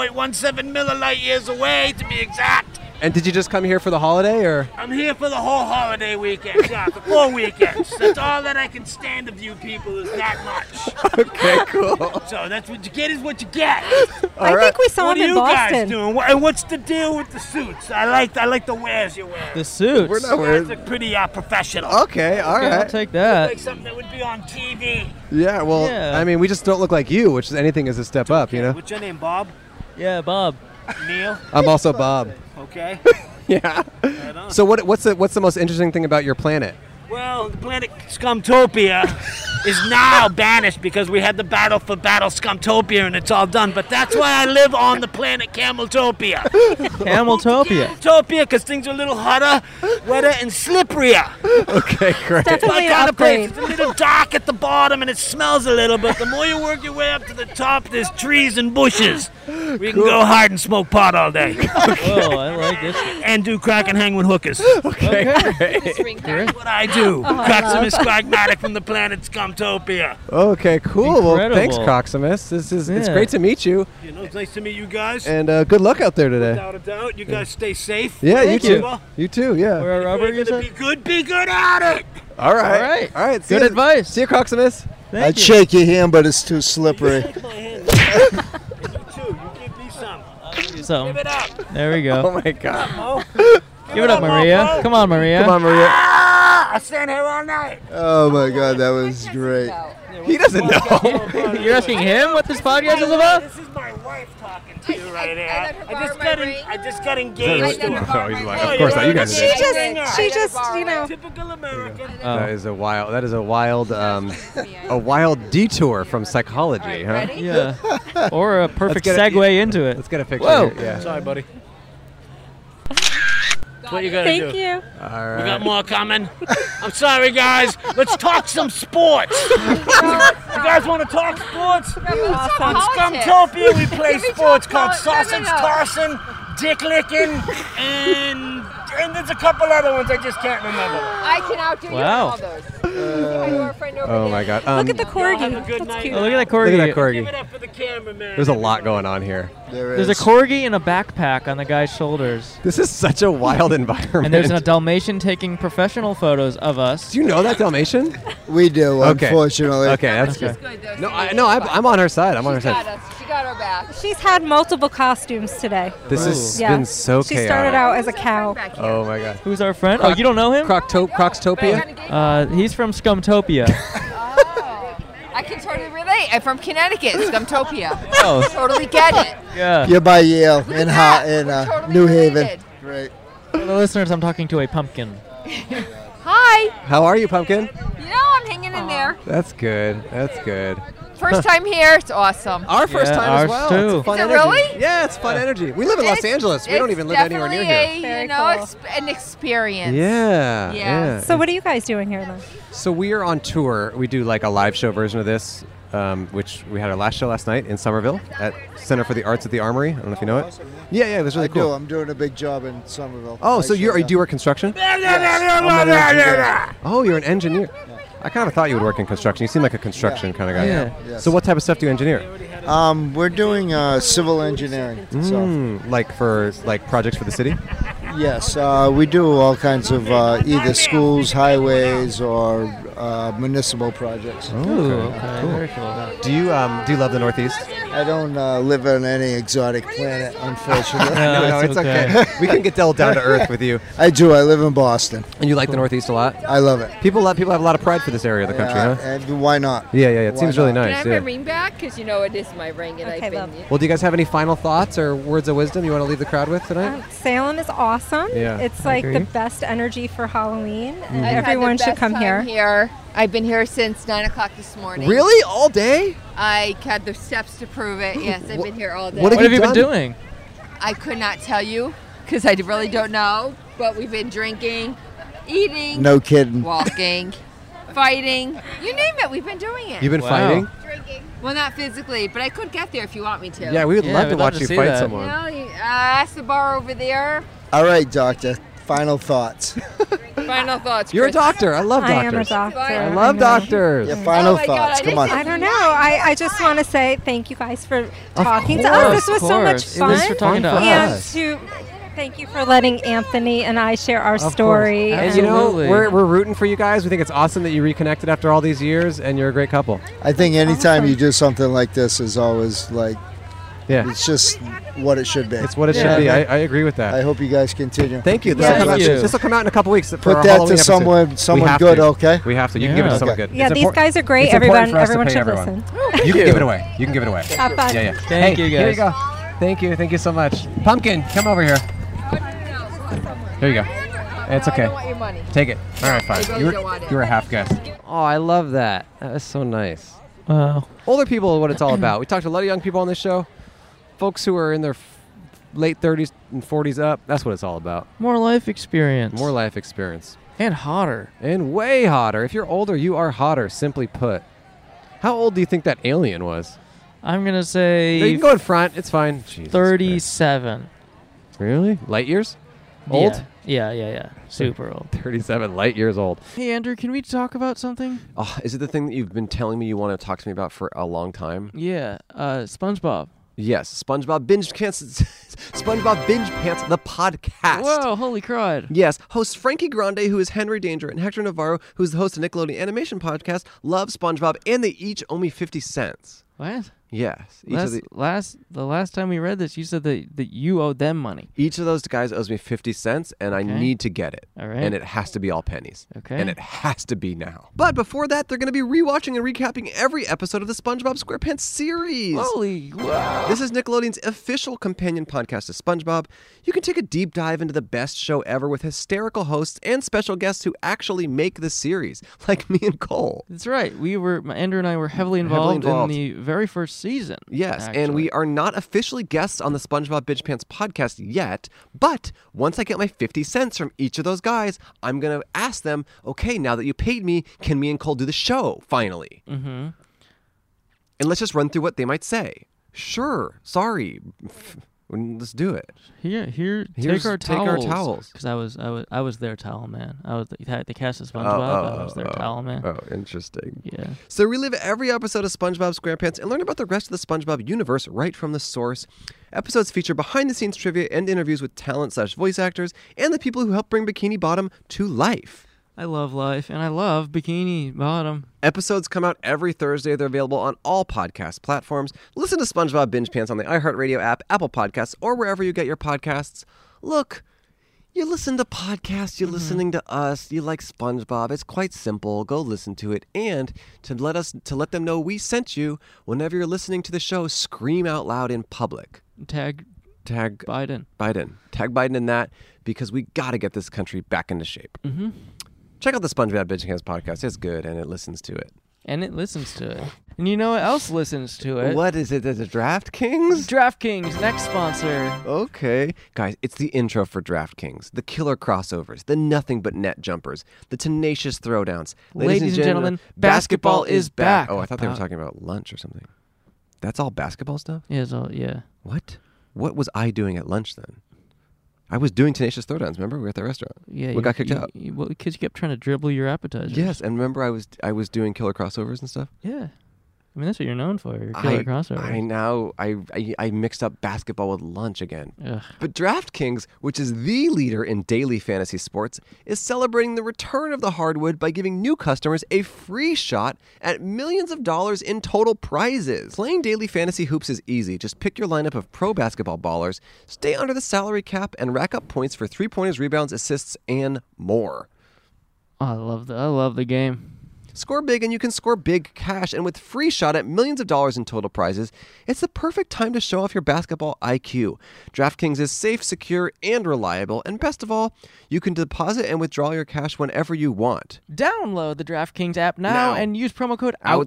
[SPEAKER 3] millilight years away to be exact.
[SPEAKER 4] And did you just come here for the holiday or?
[SPEAKER 3] I'm here for the whole holiday weekend, yeah, for four weekends. That's all that I can stand of you people is that much.
[SPEAKER 4] Okay, cool.
[SPEAKER 3] So that's what you get is what you get.
[SPEAKER 10] I think we saw
[SPEAKER 3] what
[SPEAKER 10] him
[SPEAKER 3] are
[SPEAKER 10] in
[SPEAKER 3] you guys
[SPEAKER 10] Boston.
[SPEAKER 3] doing? Wha- And what's the deal with the suits? I like I like the wares you wear.
[SPEAKER 1] The suits.
[SPEAKER 4] We're not
[SPEAKER 3] You guys
[SPEAKER 4] wearing.
[SPEAKER 3] look pretty uh, professional.
[SPEAKER 4] Okay, all
[SPEAKER 1] Okay, I'll
[SPEAKER 4] right.
[SPEAKER 1] take that.
[SPEAKER 3] Like something that would be on TV.
[SPEAKER 4] Yeah, well,
[SPEAKER 1] Yeah.
[SPEAKER 4] I mean, we just don't look like you, which is anything is a step up, you know?
[SPEAKER 3] What's your name, Bob?
[SPEAKER 1] Yeah, Bob.
[SPEAKER 3] Neil?
[SPEAKER 4] I'm also Bob.
[SPEAKER 3] Okay.
[SPEAKER 4] yeah.
[SPEAKER 3] Right on.
[SPEAKER 4] So what, what's the what's the most interesting thing about your planet?
[SPEAKER 3] Well, the planet Scumtopia is now banished because we had the battle for battle Scumtopia and it's all done. But that's why I live on the planet Cameltopia.
[SPEAKER 1] Cameltopia.
[SPEAKER 3] Topia because things are a little hotter, wetter, and slipperier.
[SPEAKER 4] Okay, great.
[SPEAKER 10] Definitely
[SPEAKER 3] My
[SPEAKER 10] an
[SPEAKER 3] kind of place.
[SPEAKER 10] upgrade.
[SPEAKER 3] It's a little dark at the bottom and it smells a little, but the more you work your way up to the top, there's trees and bushes. We can go hard and smoke pot all day
[SPEAKER 1] Whoa, Oh, I like this.
[SPEAKER 3] and do crack and hang with hookers.
[SPEAKER 1] Great.
[SPEAKER 3] what I do.
[SPEAKER 10] Uh-huh.
[SPEAKER 3] Proximus Pragmatic from the planet Scumtopia.
[SPEAKER 4] Okay, cool. Well, thanks,
[SPEAKER 1] Incredible.
[SPEAKER 4] Croximus. This is it's
[SPEAKER 1] Yeah.
[SPEAKER 4] great to meet you,
[SPEAKER 3] You know, it's nice to meet you guys.
[SPEAKER 4] and uh, good luck out there today.
[SPEAKER 3] Without a doubt, you guys stay safe.
[SPEAKER 4] Yeah,
[SPEAKER 1] Thank
[SPEAKER 4] you
[SPEAKER 1] you.
[SPEAKER 4] too. You too. Yeah.
[SPEAKER 1] Where
[SPEAKER 3] If
[SPEAKER 1] Robert, you
[SPEAKER 3] you're gonna be
[SPEAKER 1] said?
[SPEAKER 3] good, be good at it.
[SPEAKER 4] All right.
[SPEAKER 1] All right.
[SPEAKER 4] All right. See
[SPEAKER 1] Good
[SPEAKER 4] ya-
[SPEAKER 1] advice.
[SPEAKER 4] See you, Croximus.
[SPEAKER 1] Thank
[SPEAKER 11] I'd
[SPEAKER 1] you.
[SPEAKER 11] shake your hand, but it's too slippery.
[SPEAKER 3] Take my hand. you too. You give me some.
[SPEAKER 1] So,
[SPEAKER 3] Give it up.
[SPEAKER 1] there we
[SPEAKER 4] Oh
[SPEAKER 1] go.
[SPEAKER 4] my God.
[SPEAKER 3] Oh,
[SPEAKER 1] Give it up, Maria. Come on, Maria.
[SPEAKER 4] Come on, Maria.
[SPEAKER 3] ah, I stand here all night.
[SPEAKER 11] Oh my God, that was great.
[SPEAKER 4] He doesn't know.
[SPEAKER 1] You're asking him what this podcast is about?
[SPEAKER 3] This is my
[SPEAKER 12] wife talking to you right
[SPEAKER 13] I let
[SPEAKER 12] now.
[SPEAKER 13] her
[SPEAKER 12] I, just
[SPEAKER 13] borrow my
[SPEAKER 12] got
[SPEAKER 13] ring.
[SPEAKER 12] en- I just got
[SPEAKER 9] Is
[SPEAKER 12] engaged.
[SPEAKER 9] that
[SPEAKER 12] to
[SPEAKER 9] really-
[SPEAKER 12] her.
[SPEAKER 9] Oh, he's like, of course not. You guys
[SPEAKER 10] She
[SPEAKER 9] did.
[SPEAKER 10] just, she just, you know.
[SPEAKER 12] Typical American.
[SPEAKER 4] That is a wild. That is a wild. Um, a wild detour from psychology, huh?
[SPEAKER 1] ready? Yeah. Or a
[SPEAKER 4] Let's
[SPEAKER 1] perfect
[SPEAKER 4] get a-
[SPEAKER 1] segue into it.
[SPEAKER 4] Let's get a picture.
[SPEAKER 1] Whoa.
[SPEAKER 4] here, Yeah.
[SPEAKER 12] Sorry, buddy. That's what you gotta
[SPEAKER 10] Thank
[SPEAKER 12] do.
[SPEAKER 10] you.
[SPEAKER 4] All right.
[SPEAKER 12] We got more coming. I'm sorry, guys. Let's talk some sports. you guys want to talk sports?
[SPEAKER 13] let's talk
[SPEAKER 12] On
[SPEAKER 13] politics.
[SPEAKER 12] Scumtopia, we play
[SPEAKER 13] Can we
[SPEAKER 12] sports
[SPEAKER 13] talk
[SPEAKER 12] called
[SPEAKER 13] poli- no, no,
[SPEAKER 12] sausage
[SPEAKER 13] no.
[SPEAKER 12] tossing, dick licking, and and there's a couple other ones I just can't remember.
[SPEAKER 13] I can outdo you in
[SPEAKER 12] Wow.
[SPEAKER 13] all those. my girlfriend over
[SPEAKER 4] oh
[SPEAKER 13] there.
[SPEAKER 4] my God. Um,
[SPEAKER 13] Look at the corgi. That's cute.
[SPEAKER 1] Oh, look at that
[SPEAKER 4] Look
[SPEAKER 1] corgi.
[SPEAKER 4] at that corgi. There's a lot going on here.
[SPEAKER 1] There's a corgi and a backpack on the guy's shoulders.
[SPEAKER 4] This is such a wild environment.
[SPEAKER 1] And there's a Dalmatian taking professional photos of us. Do
[SPEAKER 4] you know that Dalmatian?
[SPEAKER 11] We do,
[SPEAKER 4] Okay.
[SPEAKER 11] unfortunately.
[SPEAKER 4] Okay, that's good. No, I, no, I'm, I'm on her side. I'm on her side.
[SPEAKER 10] She got her back. She's had multiple costumes today.
[SPEAKER 4] This has been so
[SPEAKER 10] She started
[SPEAKER 4] chaotic.
[SPEAKER 10] out as a cow.
[SPEAKER 4] Oh my God.
[SPEAKER 1] Who's our friend? oh, you don't know him?
[SPEAKER 4] Crocto- Croctopia?
[SPEAKER 1] Uh, he's from Scumtopia.
[SPEAKER 13] I can totally relate. I'm from Connecticut, Scumtopia.
[SPEAKER 1] Oh.
[SPEAKER 13] Totally get it.
[SPEAKER 1] yeah.
[SPEAKER 11] You're by Yale in, ha- in uh, New Haven.
[SPEAKER 13] Great.
[SPEAKER 1] For the listeners, I'm talking to a pumpkin.
[SPEAKER 13] Hi.
[SPEAKER 4] How are you, pumpkin?
[SPEAKER 13] You know I'm hanging in there.
[SPEAKER 4] That's good. That's good.
[SPEAKER 13] First time here. It's awesome.
[SPEAKER 4] Our first time as well. It's a
[SPEAKER 13] Is
[SPEAKER 4] fun
[SPEAKER 13] it
[SPEAKER 4] energy.
[SPEAKER 13] really?
[SPEAKER 4] Yeah, it's fun energy. We live in Los
[SPEAKER 13] It's-
[SPEAKER 4] Angeles. We don't even live
[SPEAKER 13] it's
[SPEAKER 4] anywhere near here.
[SPEAKER 13] definitely A,
[SPEAKER 10] Very
[SPEAKER 13] you know,
[SPEAKER 10] cool.
[SPEAKER 13] exp- an experience. Yeah.
[SPEAKER 4] Yeah, yeah.
[SPEAKER 10] So what are you guys doing here then?
[SPEAKER 4] So we are on tour. We do like a live show version of this, um, which we had our last show last night in Somerville at Center for the Arts at the Armory. I don't know if you know it. Yeah, yeah, it was really
[SPEAKER 11] I
[SPEAKER 4] cool.
[SPEAKER 11] Do. I'm doing a big job in Somerville.
[SPEAKER 4] Oh, so you are you do work construction?
[SPEAKER 11] I'm an engineer.
[SPEAKER 4] Oh, you're an engineer. I kind of thought you would work in construction. You seem like a construction kind of guy.
[SPEAKER 11] Yeah. Yes.
[SPEAKER 4] So what type of stuff do you engineer?
[SPEAKER 11] Um, we're doing uh, civil engineering.
[SPEAKER 4] Mm, like for like projects for the city?
[SPEAKER 11] Yes, uh, we do all kinds of uh, either schools, highways, or uh, municipal projects.
[SPEAKER 4] Ooh, okay, Cool. very cool. Do you um, do you love the Northeast?
[SPEAKER 11] I don't uh, live on any exotic planet, unfortunately.
[SPEAKER 4] No, No, no, it's it's okay. okay. We can get down to earth with you.
[SPEAKER 11] I do. I live in Boston.
[SPEAKER 4] And you like the Northeast a lot?
[SPEAKER 11] I love it.
[SPEAKER 4] People love, people have a lot of pride for this area of the country,
[SPEAKER 11] Yeah,
[SPEAKER 4] huh?
[SPEAKER 11] And why not?
[SPEAKER 4] Yeah, yeah, yeah. It
[SPEAKER 11] Why
[SPEAKER 4] seems really
[SPEAKER 11] not?
[SPEAKER 4] nice.
[SPEAKER 13] Can I have
[SPEAKER 4] yeah.
[SPEAKER 13] my ring back? Because you know it is my ring, and I've been.
[SPEAKER 4] Well, do you guys have any final thoughts or words of wisdom you want to leave the crowd with
[SPEAKER 10] Um,
[SPEAKER 4] tonight?
[SPEAKER 10] Salem is awesome.
[SPEAKER 4] Yeah,
[SPEAKER 10] It's
[SPEAKER 4] I
[SPEAKER 10] like the
[SPEAKER 4] agree.
[SPEAKER 10] best energy for Halloween.
[SPEAKER 4] Mhm.
[SPEAKER 10] and
[SPEAKER 4] I've had the
[SPEAKER 10] Everyone should
[SPEAKER 13] best
[SPEAKER 10] come
[SPEAKER 13] time
[SPEAKER 10] here.
[SPEAKER 13] here. I've been here since nine o'clock this morning.
[SPEAKER 4] Really? All day?
[SPEAKER 13] I had the steps to prove it. Yes, I've been here all day.
[SPEAKER 1] What have you been doing?
[SPEAKER 13] I could not tell you because I really don't know. But we've been drinking, eating,
[SPEAKER 11] No kidding.
[SPEAKER 13] walking, fighting. You name it, we've been doing it.
[SPEAKER 4] You've been fighting?
[SPEAKER 13] Well, not physically, but I could get there if you want me to.
[SPEAKER 4] Yeah, we would
[SPEAKER 11] Yeah,
[SPEAKER 4] love
[SPEAKER 11] we'd
[SPEAKER 4] to
[SPEAKER 11] love
[SPEAKER 4] watch
[SPEAKER 11] to
[SPEAKER 4] you
[SPEAKER 11] see
[SPEAKER 4] fight
[SPEAKER 11] that.
[SPEAKER 13] You
[SPEAKER 4] someone.
[SPEAKER 13] know, you- uh, that's the bar over there.
[SPEAKER 11] All right, doctor. Final thoughts.
[SPEAKER 13] Final thoughts.
[SPEAKER 4] You're a
[SPEAKER 13] Chris.
[SPEAKER 4] doctor. I love
[SPEAKER 10] I am a
[SPEAKER 4] doctors.
[SPEAKER 10] doctor.
[SPEAKER 4] I love doctors.
[SPEAKER 11] Your final
[SPEAKER 13] Oh my God,
[SPEAKER 11] thoughts.
[SPEAKER 13] I
[SPEAKER 11] Come on.
[SPEAKER 10] I don't know. I, I just want to say thank you guys for talking to
[SPEAKER 4] course,
[SPEAKER 10] us. This was so much
[SPEAKER 4] of course. It
[SPEAKER 10] fun.
[SPEAKER 4] was for talking to
[SPEAKER 10] and
[SPEAKER 4] us.
[SPEAKER 10] to thank you for letting Anthony and I share our
[SPEAKER 4] Of
[SPEAKER 10] story.
[SPEAKER 4] course. And you know, we're, we're rooting for you guys. We think it's awesome that you reconnected after all these years, and you're a great couple.
[SPEAKER 11] I think anytime you do something like this is always like,
[SPEAKER 4] Yeah.
[SPEAKER 11] it's just what it should be. It's
[SPEAKER 4] what it should be. I, I agree with that.
[SPEAKER 11] I hope you guys continue.
[SPEAKER 4] Thank you. This,
[SPEAKER 11] Yeah,
[SPEAKER 4] will, come out,
[SPEAKER 11] thank you.
[SPEAKER 4] this will come out in a couple weeks.
[SPEAKER 11] Put that to someone- someone good, okay?
[SPEAKER 4] We have to. You can give it to
[SPEAKER 11] Yeah.
[SPEAKER 4] someone
[SPEAKER 11] Okay.
[SPEAKER 4] good.
[SPEAKER 10] Yeah,
[SPEAKER 4] It's
[SPEAKER 10] these
[SPEAKER 4] impor-
[SPEAKER 10] guys are great.
[SPEAKER 4] it's
[SPEAKER 10] Everyone-
[SPEAKER 4] important for us to
[SPEAKER 10] everyone
[SPEAKER 4] pay
[SPEAKER 10] should
[SPEAKER 4] everyone.
[SPEAKER 10] listen.
[SPEAKER 4] You can give it away. You can give it away.
[SPEAKER 10] Have fun.
[SPEAKER 4] Yeah, yeah.
[SPEAKER 1] Thank
[SPEAKER 4] Hey,
[SPEAKER 1] you,
[SPEAKER 4] Here you
[SPEAKER 1] guys.
[SPEAKER 4] go. Thank you. Thank you so much. Pumpkin, come over here. Here you go. It's okay.
[SPEAKER 13] want your money.
[SPEAKER 4] Take it. All right,
[SPEAKER 13] I
[SPEAKER 4] fine.
[SPEAKER 13] really
[SPEAKER 4] You
[SPEAKER 13] don't
[SPEAKER 4] were,
[SPEAKER 13] want it.
[SPEAKER 4] you were a half guest. Oh, I love that. That was so nice.
[SPEAKER 1] Wow.
[SPEAKER 4] Older people are what it's all about. We talked to a lot of young people on this show, folks who are in their f- late 30s and 40s up. That's what it's all about.
[SPEAKER 1] More life experience.
[SPEAKER 4] More life experience.
[SPEAKER 1] And hotter.
[SPEAKER 4] And way hotter. If you're older, you are hotter, simply put. How old do you think that alien was?
[SPEAKER 1] I'm going to say
[SPEAKER 4] No, you can go in front. It's fine. Jesus
[SPEAKER 1] 37.
[SPEAKER 4] Christ. Really? Light years? Old?
[SPEAKER 1] Yeah, yeah, yeah. yeah. Super old.
[SPEAKER 4] 37 light years old.
[SPEAKER 1] Hey, Andrew, can we talk about something?
[SPEAKER 4] Oh, is it the thing that you've been telling me you want to talk to me about for a long time?
[SPEAKER 1] Yeah, uh, SpongeBob.
[SPEAKER 4] Yes, SpongeBob Binge Pants. SpongeBob Binge Pants, the podcast.
[SPEAKER 1] Whoa, holy crud.
[SPEAKER 4] Yes, hosts Frankie Grande, who is Henry Danger, and Hector Navarro, who is the host of Nickelodeon Animation Podcast, love SpongeBob, and they each owe me 50 cents.
[SPEAKER 1] What?
[SPEAKER 4] Yes. Each of
[SPEAKER 1] last,
[SPEAKER 4] the-
[SPEAKER 1] last the last time we read this, you said that, that you owe them money.
[SPEAKER 4] Each of those guys owes me 50 cents, and I
[SPEAKER 1] Okay.
[SPEAKER 4] need to get it.
[SPEAKER 1] All right.
[SPEAKER 4] And it has to be all pennies.
[SPEAKER 1] Okay.
[SPEAKER 4] And it has to be now. But before that, they're going to be rewatching and recapping every episode of the SpongeBob SquarePants series.
[SPEAKER 1] Holy wow.
[SPEAKER 4] This is Nickelodeon's official companion podcast to SpongeBob. You can take a deep dive into the best show ever with hysterical hosts and special guests who actually make the series, like me and Cole.
[SPEAKER 1] That's right. We were Andrew and I were heavily involved,
[SPEAKER 4] involved.
[SPEAKER 1] in the very first season.
[SPEAKER 4] Yes, and we are not officially guests on the SpongeBob Bitch Pants podcast yet, but once I get my 50 cents from each of those guys, I'm going to ask them, okay, now that you paid me, can me and Cole do the show finally?
[SPEAKER 1] Mm-hmm.
[SPEAKER 4] And let's just run through what they might say. Sure, sorry. Let's do it.
[SPEAKER 1] Here, here,
[SPEAKER 4] Here's-
[SPEAKER 1] take our
[SPEAKER 4] take our
[SPEAKER 1] towels.
[SPEAKER 4] towels.
[SPEAKER 1] Because I was, I was, I was their towel man. I was the, the cast of SpongeBob. I was their
[SPEAKER 4] oh,
[SPEAKER 1] towel man.
[SPEAKER 4] Oh, interesting.
[SPEAKER 1] Yeah.
[SPEAKER 4] So relive every episode of SpongeBob SquarePants and learn about the rest of the SpongeBob universe right from the source. Episodes feature behind-the-scenes trivia and interviews with talent slash voice actors and the people who help bring Bikini Bottom to life.
[SPEAKER 1] I love life, and I love Bikini Bottom.
[SPEAKER 4] Episodes come out every Thursday. They're available on all podcast platforms. Listen to SpongeBob Binge Pants on the iHeartRadio app, Apple Podcasts, or wherever you get your podcasts. Look, you listen to podcasts, you're listening to us, you like SpongeBob. It's quite simple. Go listen to it. And to let us to let them know we sent you, whenever you're listening to the show, scream out loud in public.
[SPEAKER 1] Tag
[SPEAKER 4] Tag
[SPEAKER 1] Biden.
[SPEAKER 4] Biden. Tag Biden in that because we gotta get this country back into shape.
[SPEAKER 1] Mhm.
[SPEAKER 4] Check out the SpongeBob Binge Pants podcast. It's good and it listens to it.
[SPEAKER 1] and it listens to it. And you know what else listens to it?
[SPEAKER 4] What is it? Is it DraftKings?
[SPEAKER 1] DraftKings, next sponsor.
[SPEAKER 4] Okay. Guys, it's the intro for DraftKings, the killer crossovers, the nothing but net jumpers, the tenacious throwdowns.
[SPEAKER 1] Ladies and gentlemen, basketball is back.
[SPEAKER 4] Oh, I thought they were
[SPEAKER 1] About-
[SPEAKER 4] talking about lunch or something. That's all basketball stuff?
[SPEAKER 1] Yeah, it's all, Oh, yeah.
[SPEAKER 4] What? What was I doing at lunch then? I was doing tenacious throwdowns. Remember, we were at the restaurant.
[SPEAKER 1] Yeah,
[SPEAKER 4] we
[SPEAKER 1] you-
[SPEAKER 4] got kicked
[SPEAKER 1] you-
[SPEAKER 4] out.
[SPEAKER 1] you- well, because you kept trying to dribble your appetizer.
[SPEAKER 4] Yes, and remember, I was I was doing killer crossovers and stuff.
[SPEAKER 1] Yeah. I mean, that's what you're known for. Your
[SPEAKER 4] I,
[SPEAKER 1] killer crossover.
[SPEAKER 4] I now I, I I mixed up basketball with lunch again.
[SPEAKER 1] Ugh.
[SPEAKER 4] But DraftKings, which is the leader in daily fantasy sports, is celebrating the return of the hardwood by giving new customers a free shot at millions of dollars in total prizes. Playing daily fantasy hoops is easy. Just pick your lineup of pro basketball ballers, stay under the salary cap, and rack up points for three pointers, rebounds, assists, and more.
[SPEAKER 1] Oh, I love the I love the game.
[SPEAKER 4] Score big and you can score big cash. And with free shot at millions of dollars in total prizes, it's the perfect time to show off your basketball IQ. DraftKings is safe, secure, and reliable. And best of all, you can deposit and withdraw your cash whenever you want.
[SPEAKER 1] Download the DraftKings app
[SPEAKER 4] Now.
[SPEAKER 1] now, and use promo code
[SPEAKER 4] Outside.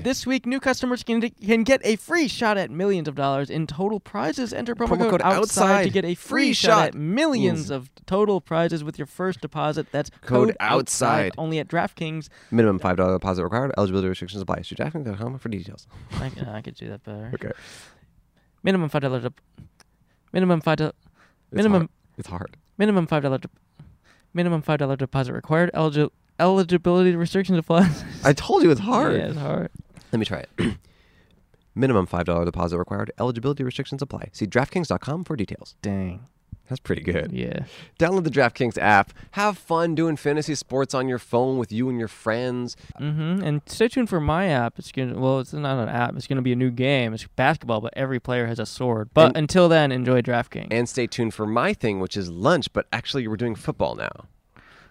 [SPEAKER 1] outside. This week, new customers can can get a free shot at millions of dollars in total prizes. Enter promo,
[SPEAKER 4] Promo code outside.
[SPEAKER 1] to get a free,
[SPEAKER 4] Free
[SPEAKER 1] shot,
[SPEAKER 4] shot. Mm.
[SPEAKER 1] at millions of total prizes with your first deposit. That's
[SPEAKER 4] Code
[SPEAKER 1] code,
[SPEAKER 4] outside.
[SPEAKER 1] only at DraftKings.
[SPEAKER 4] Minimum $5 deposit required. Eligibility restrictions apply. See DraftKings.com for details.
[SPEAKER 1] I, uh, I could do that better.
[SPEAKER 4] Okay.
[SPEAKER 1] Minimum five dollar. Dep- minimum five dollar.
[SPEAKER 4] It's
[SPEAKER 1] Minimum.
[SPEAKER 4] hard. It's hard.
[SPEAKER 1] Minimum five dollar. Dep- minimum five dollar deposit required. Eligi- eligibility restrictions apply.
[SPEAKER 4] I told you it's hard.
[SPEAKER 1] Yeah, it's hard.
[SPEAKER 4] Let me try it. Minimum $5 deposit required. Eligibility restrictions apply. See DraftKings.com for details.
[SPEAKER 1] Dang.
[SPEAKER 4] That's pretty good.
[SPEAKER 1] Yeah.
[SPEAKER 4] Download the DraftKings app. Have fun doing fantasy sports on your phone with you and your friends.
[SPEAKER 1] hmm And stay tuned for my app. It's gonna well, it's not an app. It's gonna be a new game. It's basketball, but every player has a sword. But
[SPEAKER 4] And-
[SPEAKER 1] until then, enjoy DraftKings.
[SPEAKER 4] And stay tuned for my thing, which is lunch, but actually, we're doing football now.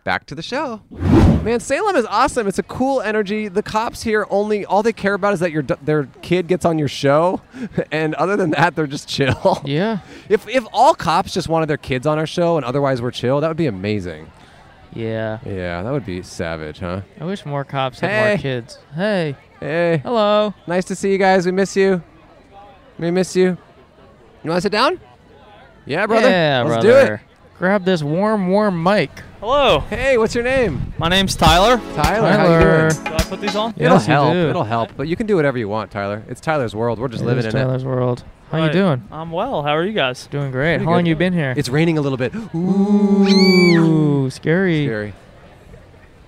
[SPEAKER 4] Back to the show. Man, Salem is awesome. It's a cool energy. The cops here only, all they care about is that your d- their kid gets on your show. And other than that, they're just chill.
[SPEAKER 1] Yeah.
[SPEAKER 4] If, if all cops just wanted their kids on our show and otherwise were chill, that would be amazing.
[SPEAKER 1] Yeah.
[SPEAKER 4] Yeah, that would be savage, huh?
[SPEAKER 1] I wish more cops had
[SPEAKER 4] Hey.
[SPEAKER 1] more kids. Hey.
[SPEAKER 4] Hey.
[SPEAKER 1] Hello.
[SPEAKER 4] Nice to see you guys. We miss you. We miss you. You want to sit down? Yeah, brother.
[SPEAKER 1] Yeah,
[SPEAKER 4] Let's
[SPEAKER 1] brother.
[SPEAKER 4] do it.
[SPEAKER 1] Grab this warm, warm mic.
[SPEAKER 14] Hello.
[SPEAKER 4] Hey, what's your name?
[SPEAKER 14] My name's Tyler.
[SPEAKER 4] Tyler, how you doing?
[SPEAKER 14] Do I put these on?
[SPEAKER 4] It'll
[SPEAKER 1] Yes, you
[SPEAKER 4] help.
[SPEAKER 1] do.
[SPEAKER 4] It'll help. But you can do whatever you want, Tyler. It's Tyler's world. We're just
[SPEAKER 1] It
[SPEAKER 4] living
[SPEAKER 1] is
[SPEAKER 4] in
[SPEAKER 1] Tyler's
[SPEAKER 4] it.
[SPEAKER 1] world. How you
[SPEAKER 14] Right.
[SPEAKER 1] doing?
[SPEAKER 14] I'm well. How are you guys?
[SPEAKER 1] Doing great.
[SPEAKER 14] Pretty
[SPEAKER 1] How long
[SPEAKER 14] good.
[SPEAKER 1] you been here?
[SPEAKER 4] It's raining a little bit.
[SPEAKER 1] Ooh, scary.
[SPEAKER 4] Scary.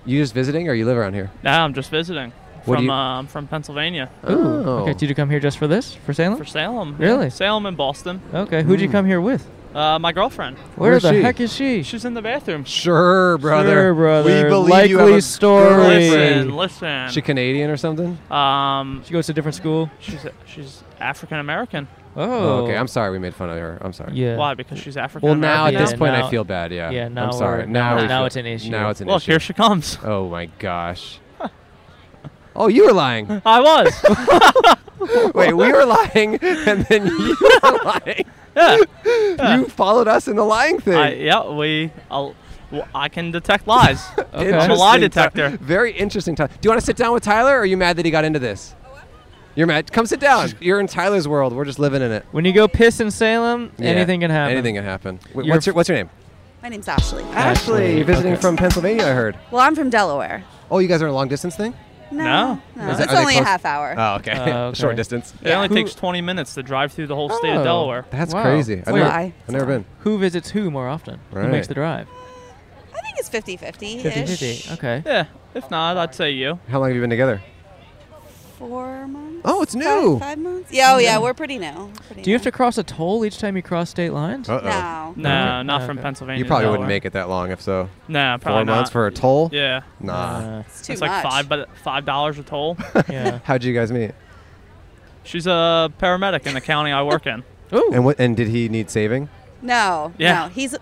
[SPEAKER 4] You just visiting, or you live around here?
[SPEAKER 14] Nah, I'm just visiting.
[SPEAKER 4] What do
[SPEAKER 14] from
[SPEAKER 4] you- Oh.
[SPEAKER 14] uh, I'm from Pennsylvania.
[SPEAKER 1] Ooh. Okay. Did you come here just Oh. for this? For Salem?
[SPEAKER 14] For Salem. yeah.
[SPEAKER 1] Really?
[SPEAKER 14] Salem and Boston.
[SPEAKER 1] Okay. Who'd you
[SPEAKER 14] Mm.
[SPEAKER 1] come here with?
[SPEAKER 14] Uh, my girlfriend.
[SPEAKER 1] Where Where is the she? heck is she?
[SPEAKER 14] She's in the bathroom.
[SPEAKER 4] Sure, brother.
[SPEAKER 1] Sure, brother.
[SPEAKER 4] We believe you have
[SPEAKER 1] Likely
[SPEAKER 4] a
[SPEAKER 1] story.
[SPEAKER 4] girlfriend.
[SPEAKER 14] Listen, listen.
[SPEAKER 4] She Canadian or something?
[SPEAKER 14] Um,
[SPEAKER 1] she goes to a different school. Oh.
[SPEAKER 14] She's she's African American.
[SPEAKER 4] Oh, okay. I'm sorry we made fun of her. I'm sorry.
[SPEAKER 1] Yeah.
[SPEAKER 14] Why? Because she's African.
[SPEAKER 4] Well, now at
[SPEAKER 14] American?
[SPEAKER 4] this point,
[SPEAKER 14] Now-
[SPEAKER 4] I feel bad. Yeah.
[SPEAKER 14] yeah, now
[SPEAKER 4] I'm sorry.
[SPEAKER 14] we're-
[SPEAKER 4] Now,
[SPEAKER 14] now-
[SPEAKER 4] we
[SPEAKER 14] now
[SPEAKER 4] feel-
[SPEAKER 14] it's an issue.
[SPEAKER 4] Now it's an
[SPEAKER 14] Look,
[SPEAKER 4] issue.
[SPEAKER 14] here she comes.
[SPEAKER 4] Oh my gosh. Oh, you were lying.
[SPEAKER 14] I was.
[SPEAKER 4] Wait, we were lying, and then you were lying. You followed us in the lying thing.
[SPEAKER 14] I, yeah, we. I'll, well, I can detect lies. I'm a lie
[SPEAKER 4] Interesting ti-
[SPEAKER 14] detector.
[SPEAKER 4] Very interesting time. Do you want to sit down with Tyler, or are you mad that he got into this?
[SPEAKER 15] Oh,
[SPEAKER 4] You're mad. Come sit down. You're in Tyler's world. We're just living in it.
[SPEAKER 1] When you go piss in Salem,
[SPEAKER 4] Yeah,
[SPEAKER 1] anything can happen.
[SPEAKER 4] Anything can happen. Wait,
[SPEAKER 1] You're
[SPEAKER 4] what's your What's your name?
[SPEAKER 15] My name's Ashley.
[SPEAKER 4] Ashley. You're visiting from Pennsylvania, I heard.
[SPEAKER 15] Well, I'm from Delaware.
[SPEAKER 4] Oh, you guys are a long distance thing?
[SPEAKER 15] No. No.
[SPEAKER 4] Is
[SPEAKER 15] It's
[SPEAKER 4] are they
[SPEAKER 15] only a
[SPEAKER 4] close?
[SPEAKER 15] half hour.
[SPEAKER 4] Oh, okay.
[SPEAKER 14] Uh,
[SPEAKER 4] Short distance.
[SPEAKER 14] It only takes 20 minutes to drive through the whole state
[SPEAKER 1] Oh,
[SPEAKER 14] of Delaware.
[SPEAKER 4] That's crazy. I've
[SPEAKER 1] Wait,
[SPEAKER 4] never, I've never been.
[SPEAKER 1] Who visits who more often? Who makes
[SPEAKER 4] Right.
[SPEAKER 1] the drive?
[SPEAKER 15] I think it's 50 50
[SPEAKER 1] 50-50, Okay.
[SPEAKER 14] Eh? Yeah. If not, I'd say you.
[SPEAKER 4] How long have you been together?
[SPEAKER 15] Four months?
[SPEAKER 4] Oh, it's
[SPEAKER 15] Five, five months? Yeah, oh, yeah,
[SPEAKER 1] Yeah.
[SPEAKER 15] we're pretty new. Pretty
[SPEAKER 1] Do you have to cross a toll each time you cross state lines?
[SPEAKER 15] No.
[SPEAKER 14] No, not from Pennsylvania.
[SPEAKER 4] You
[SPEAKER 14] to
[SPEAKER 4] probably wouldn't
[SPEAKER 14] Delaware.
[SPEAKER 4] make it that long if so.
[SPEAKER 14] Nah,
[SPEAKER 4] Four
[SPEAKER 14] probably
[SPEAKER 4] months
[SPEAKER 14] not.
[SPEAKER 4] for a toll?
[SPEAKER 14] Yeah.
[SPEAKER 4] Nah.
[SPEAKER 15] too
[SPEAKER 14] it's like
[SPEAKER 15] much.
[SPEAKER 14] five, but five dollars a toll.
[SPEAKER 4] How'd you guys meet?
[SPEAKER 14] She's a paramedic in the county I work in.
[SPEAKER 4] And what? And did he need saving?
[SPEAKER 15] No.
[SPEAKER 14] Yeah.
[SPEAKER 15] No. He's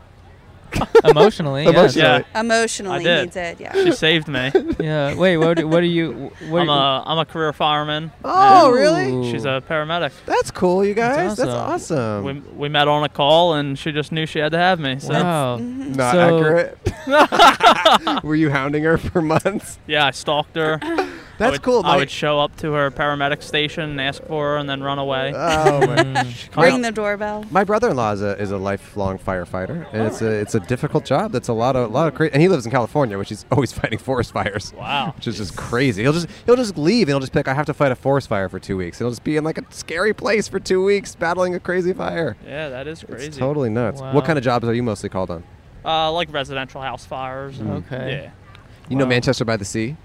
[SPEAKER 1] Emotionally. yes.
[SPEAKER 14] Emotionally.
[SPEAKER 15] emotionally
[SPEAKER 14] I did.
[SPEAKER 15] needs it. Yeah.
[SPEAKER 14] She saved me.
[SPEAKER 1] yeah. Wait. What? do- What do you? wh- What
[SPEAKER 14] I'm
[SPEAKER 1] do
[SPEAKER 14] a I'm a career fireman.
[SPEAKER 4] Oh,
[SPEAKER 14] and
[SPEAKER 4] really?
[SPEAKER 14] She's a paramedic.
[SPEAKER 4] That's cool, you guys.
[SPEAKER 14] That's
[SPEAKER 4] That's
[SPEAKER 14] awesome.
[SPEAKER 4] awesome.
[SPEAKER 14] We, we met on a call, and she just knew she had to have me. So.
[SPEAKER 1] Wow.
[SPEAKER 4] Not
[SPEAKER 14] So-
[SPEAKER 4] accurate. Were you hounding her for months?
[SPEAKER 14] Yeah, I stalked her. I
[SPEAKER 4] That's
[SPEAKER 14] would,
[SPEAKER 4] cool,
[SPEAKER 14] I
[SPEAKER 4] Mike.
[SPEAKER 14] would show up to her paramedic station and ask for her, and then run away.
[SPEAKER 4] Oh my!
[SPEAKER 15] Ring the doorbell.
[SPEAKER 4] My brother-in-law is a, is a lifelong firefighter, and it's a it's a difficult job. That's a lot of a lot of cra And he lives in California, which he's always fighting forest fires.
[SPEAKER 14] Wow.
[SPEAKER 4] which is just crazy. He'll just he'll just leave, and he'll just pick. I have to fight a forest fire for two weeks. and He'll just be in like a scary place for two weeks, battling a crazy fire.
[SPEAKER 14] Yeah, that is crazy.
[SPEAKER 4] It's totally nuts.
[SPEAKER 14] Wow.
[SPEAKER 4] What kind of jobs are you mostly called on?
[SPEAKER 14] Uh, like residential house fires. and-
[SPEAKER 4] Mm.
[SPEAKER 14] Yeah,
[SPEAKER 4] You know Manchester by the Sea.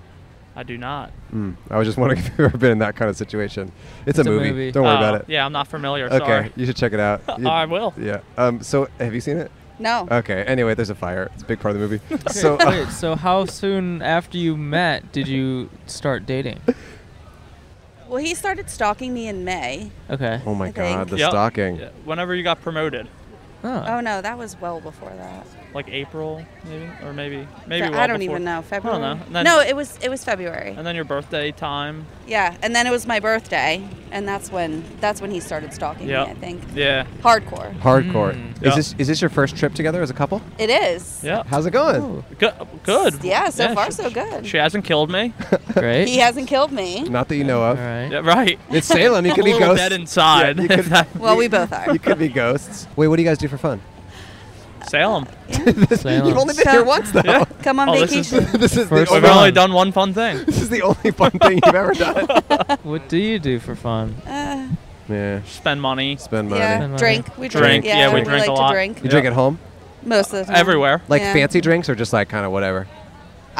[SPEAKER 14] I do not.
[SPEAKER 4] Mm. I was just wondering if you've ever been in that kind of situation. It's, a,
[SPEAKER 14] It's a
[SPEAKER 4] movie.
[SPEAKER 14] movie.
[SPEAKER 4] Don't worry
[SPEAKER 14] Oh,
[SPEAKER 4] about it.
[SPEAKER 14] yeah, I'm not familiar,
[SPEAKER 4] Okay,
[SPEAKER 14] sorry.
[SPEAKER 4] you should check it out. You-
[SPEAKER 14] I will.
[SPEAKER 4] Yeah. Um, so, have you seen it?
[SPEAKER 15] No.
[SPEAKER 4] Okay. Anyway, there's a fire. It's a big part of the movie.
[SPEAKER 1] Okay,
[SPEAKER 4] so, uh,
[SPEAKER 1] wait, so how soon after you met did you start dating?
[SPEAKER 15] Well, he started stalking me in May.
[SPEAKER 1] Okay.
[SPEAKER 4] oh my
[SPEAKER 15] I think-
[SPEAKER 4] God, the
[SPEAKER 14] Yep.
[SPEAKER 4] stalking.
[SPEAKER 14] Yeah, Whenever you got promoted,
[SPEAKER 15] Oh, no, that was well before that.
[SPEAKER 14] like April, maybe, or maybe, maybe.
[SPEAKER 15] Fe-
[SPEAKER 14] well
[SPEAKER 15] I don't
[SPEAKER 14] before-
[SPEAKER 15] even know. February.
[SPEAKER 14] I don't know. And then-
[SPEAKER 15] no, it was it was February.
[SPEAKER 14] and then your birthday time.
[SPEAKER 15] Yeah, and then it was my birthday, and that's when that's when he started stalking
[SPEAKER 14] Yeah.
[SPEAKER 15] me. I think.
[SPEAKER 14] Yeah.
[SPEAKER 15] Hardcore.
[SPEAKER 4] Hardcore.
[SPEAKER 14] Mm.
[SPEAKER 4] Is
[SPEAKER 14] Yep.
[SPEAKER 4] this is this your first trip together as a couple?
[SPEAKER 15] It is.
[SPEAKER 14] Yeah.
[SPEAKER 4] How's it going?
[SPEAKER 14] Good. good.
[SPEAKER 15] Yeah. So far,
[SPEAKER 14] she,
[SPEAKER 15] so good.
[SPEAKER 14] She hasn't killed me.
[SPEAKER 1] Great.
[SPEAKER 15] He hasn't killed me.
[SPEAKER 4] Not that you know of.
[SPEAKER 1] Right.
[SPEAKER 14] Yeah, right.
[SPEAKER 4] It's Salem. You
[SPEAKER 14] I'm
[SPEAKER 4] could
[SPEAKER 14] a
[SPEAKER 4] be
[SPEAKER 14] little
[SPEAKER 4] ghosts.
[SPEAKER 14] dead inside.
[SPEAKER 4] Yeah, you could-
[SPEAKER 15] Well, we both are.
[SPEAKER 4] you could be ghosts. Wait, what do you guys do for fun?
[SPEAKER 14] Salem.
[SPEAKER 4] You've only been here once, though.
[SPEAKER 14] Yeah.
[SPEAKER 15] Come on
[SPEAKER 14] Oh, this is-
[SPEAKER 15] vacation.
[SPEAKER 4] This is the
[SPEAKER 14] We've
[SPEAKER 4] only-
[SPEAKER 14] only done one fun thing.
[SPEAKER 4] This is the only fun thing you've ever done.
[SPEAKER 1] What do you do for fun?
[SPEAKER 15] Uh,
[SPEAKER 4] Yeah.
[SPEAKER 14] Spend money.
[SPEAKER 4] Spend
[SPEAKER 15] yeah.
[SPEAKER 1] money.
[SPEAKER 15] Drink. We drink.
[SPEAKER 14] Drink, yeah, we
[SPEAKER 15] we
[SPEAKER 14] drink
[SPEAKER 15] like
[SPEAKER 14] a
[SPEAKER 15] to
[SPEAKER 14] lot.
[SPEAKER 15] drink.
[SPEAKER 4] You drink at home?
[SPEAKER 15] Most of the time.
[SPEAKER 14] Everywhere.
[SPEAKER 4] Like
[SPEAKER 15] Yeah.
[SPEAKER 4] fancy drinks or just like kind of whatever?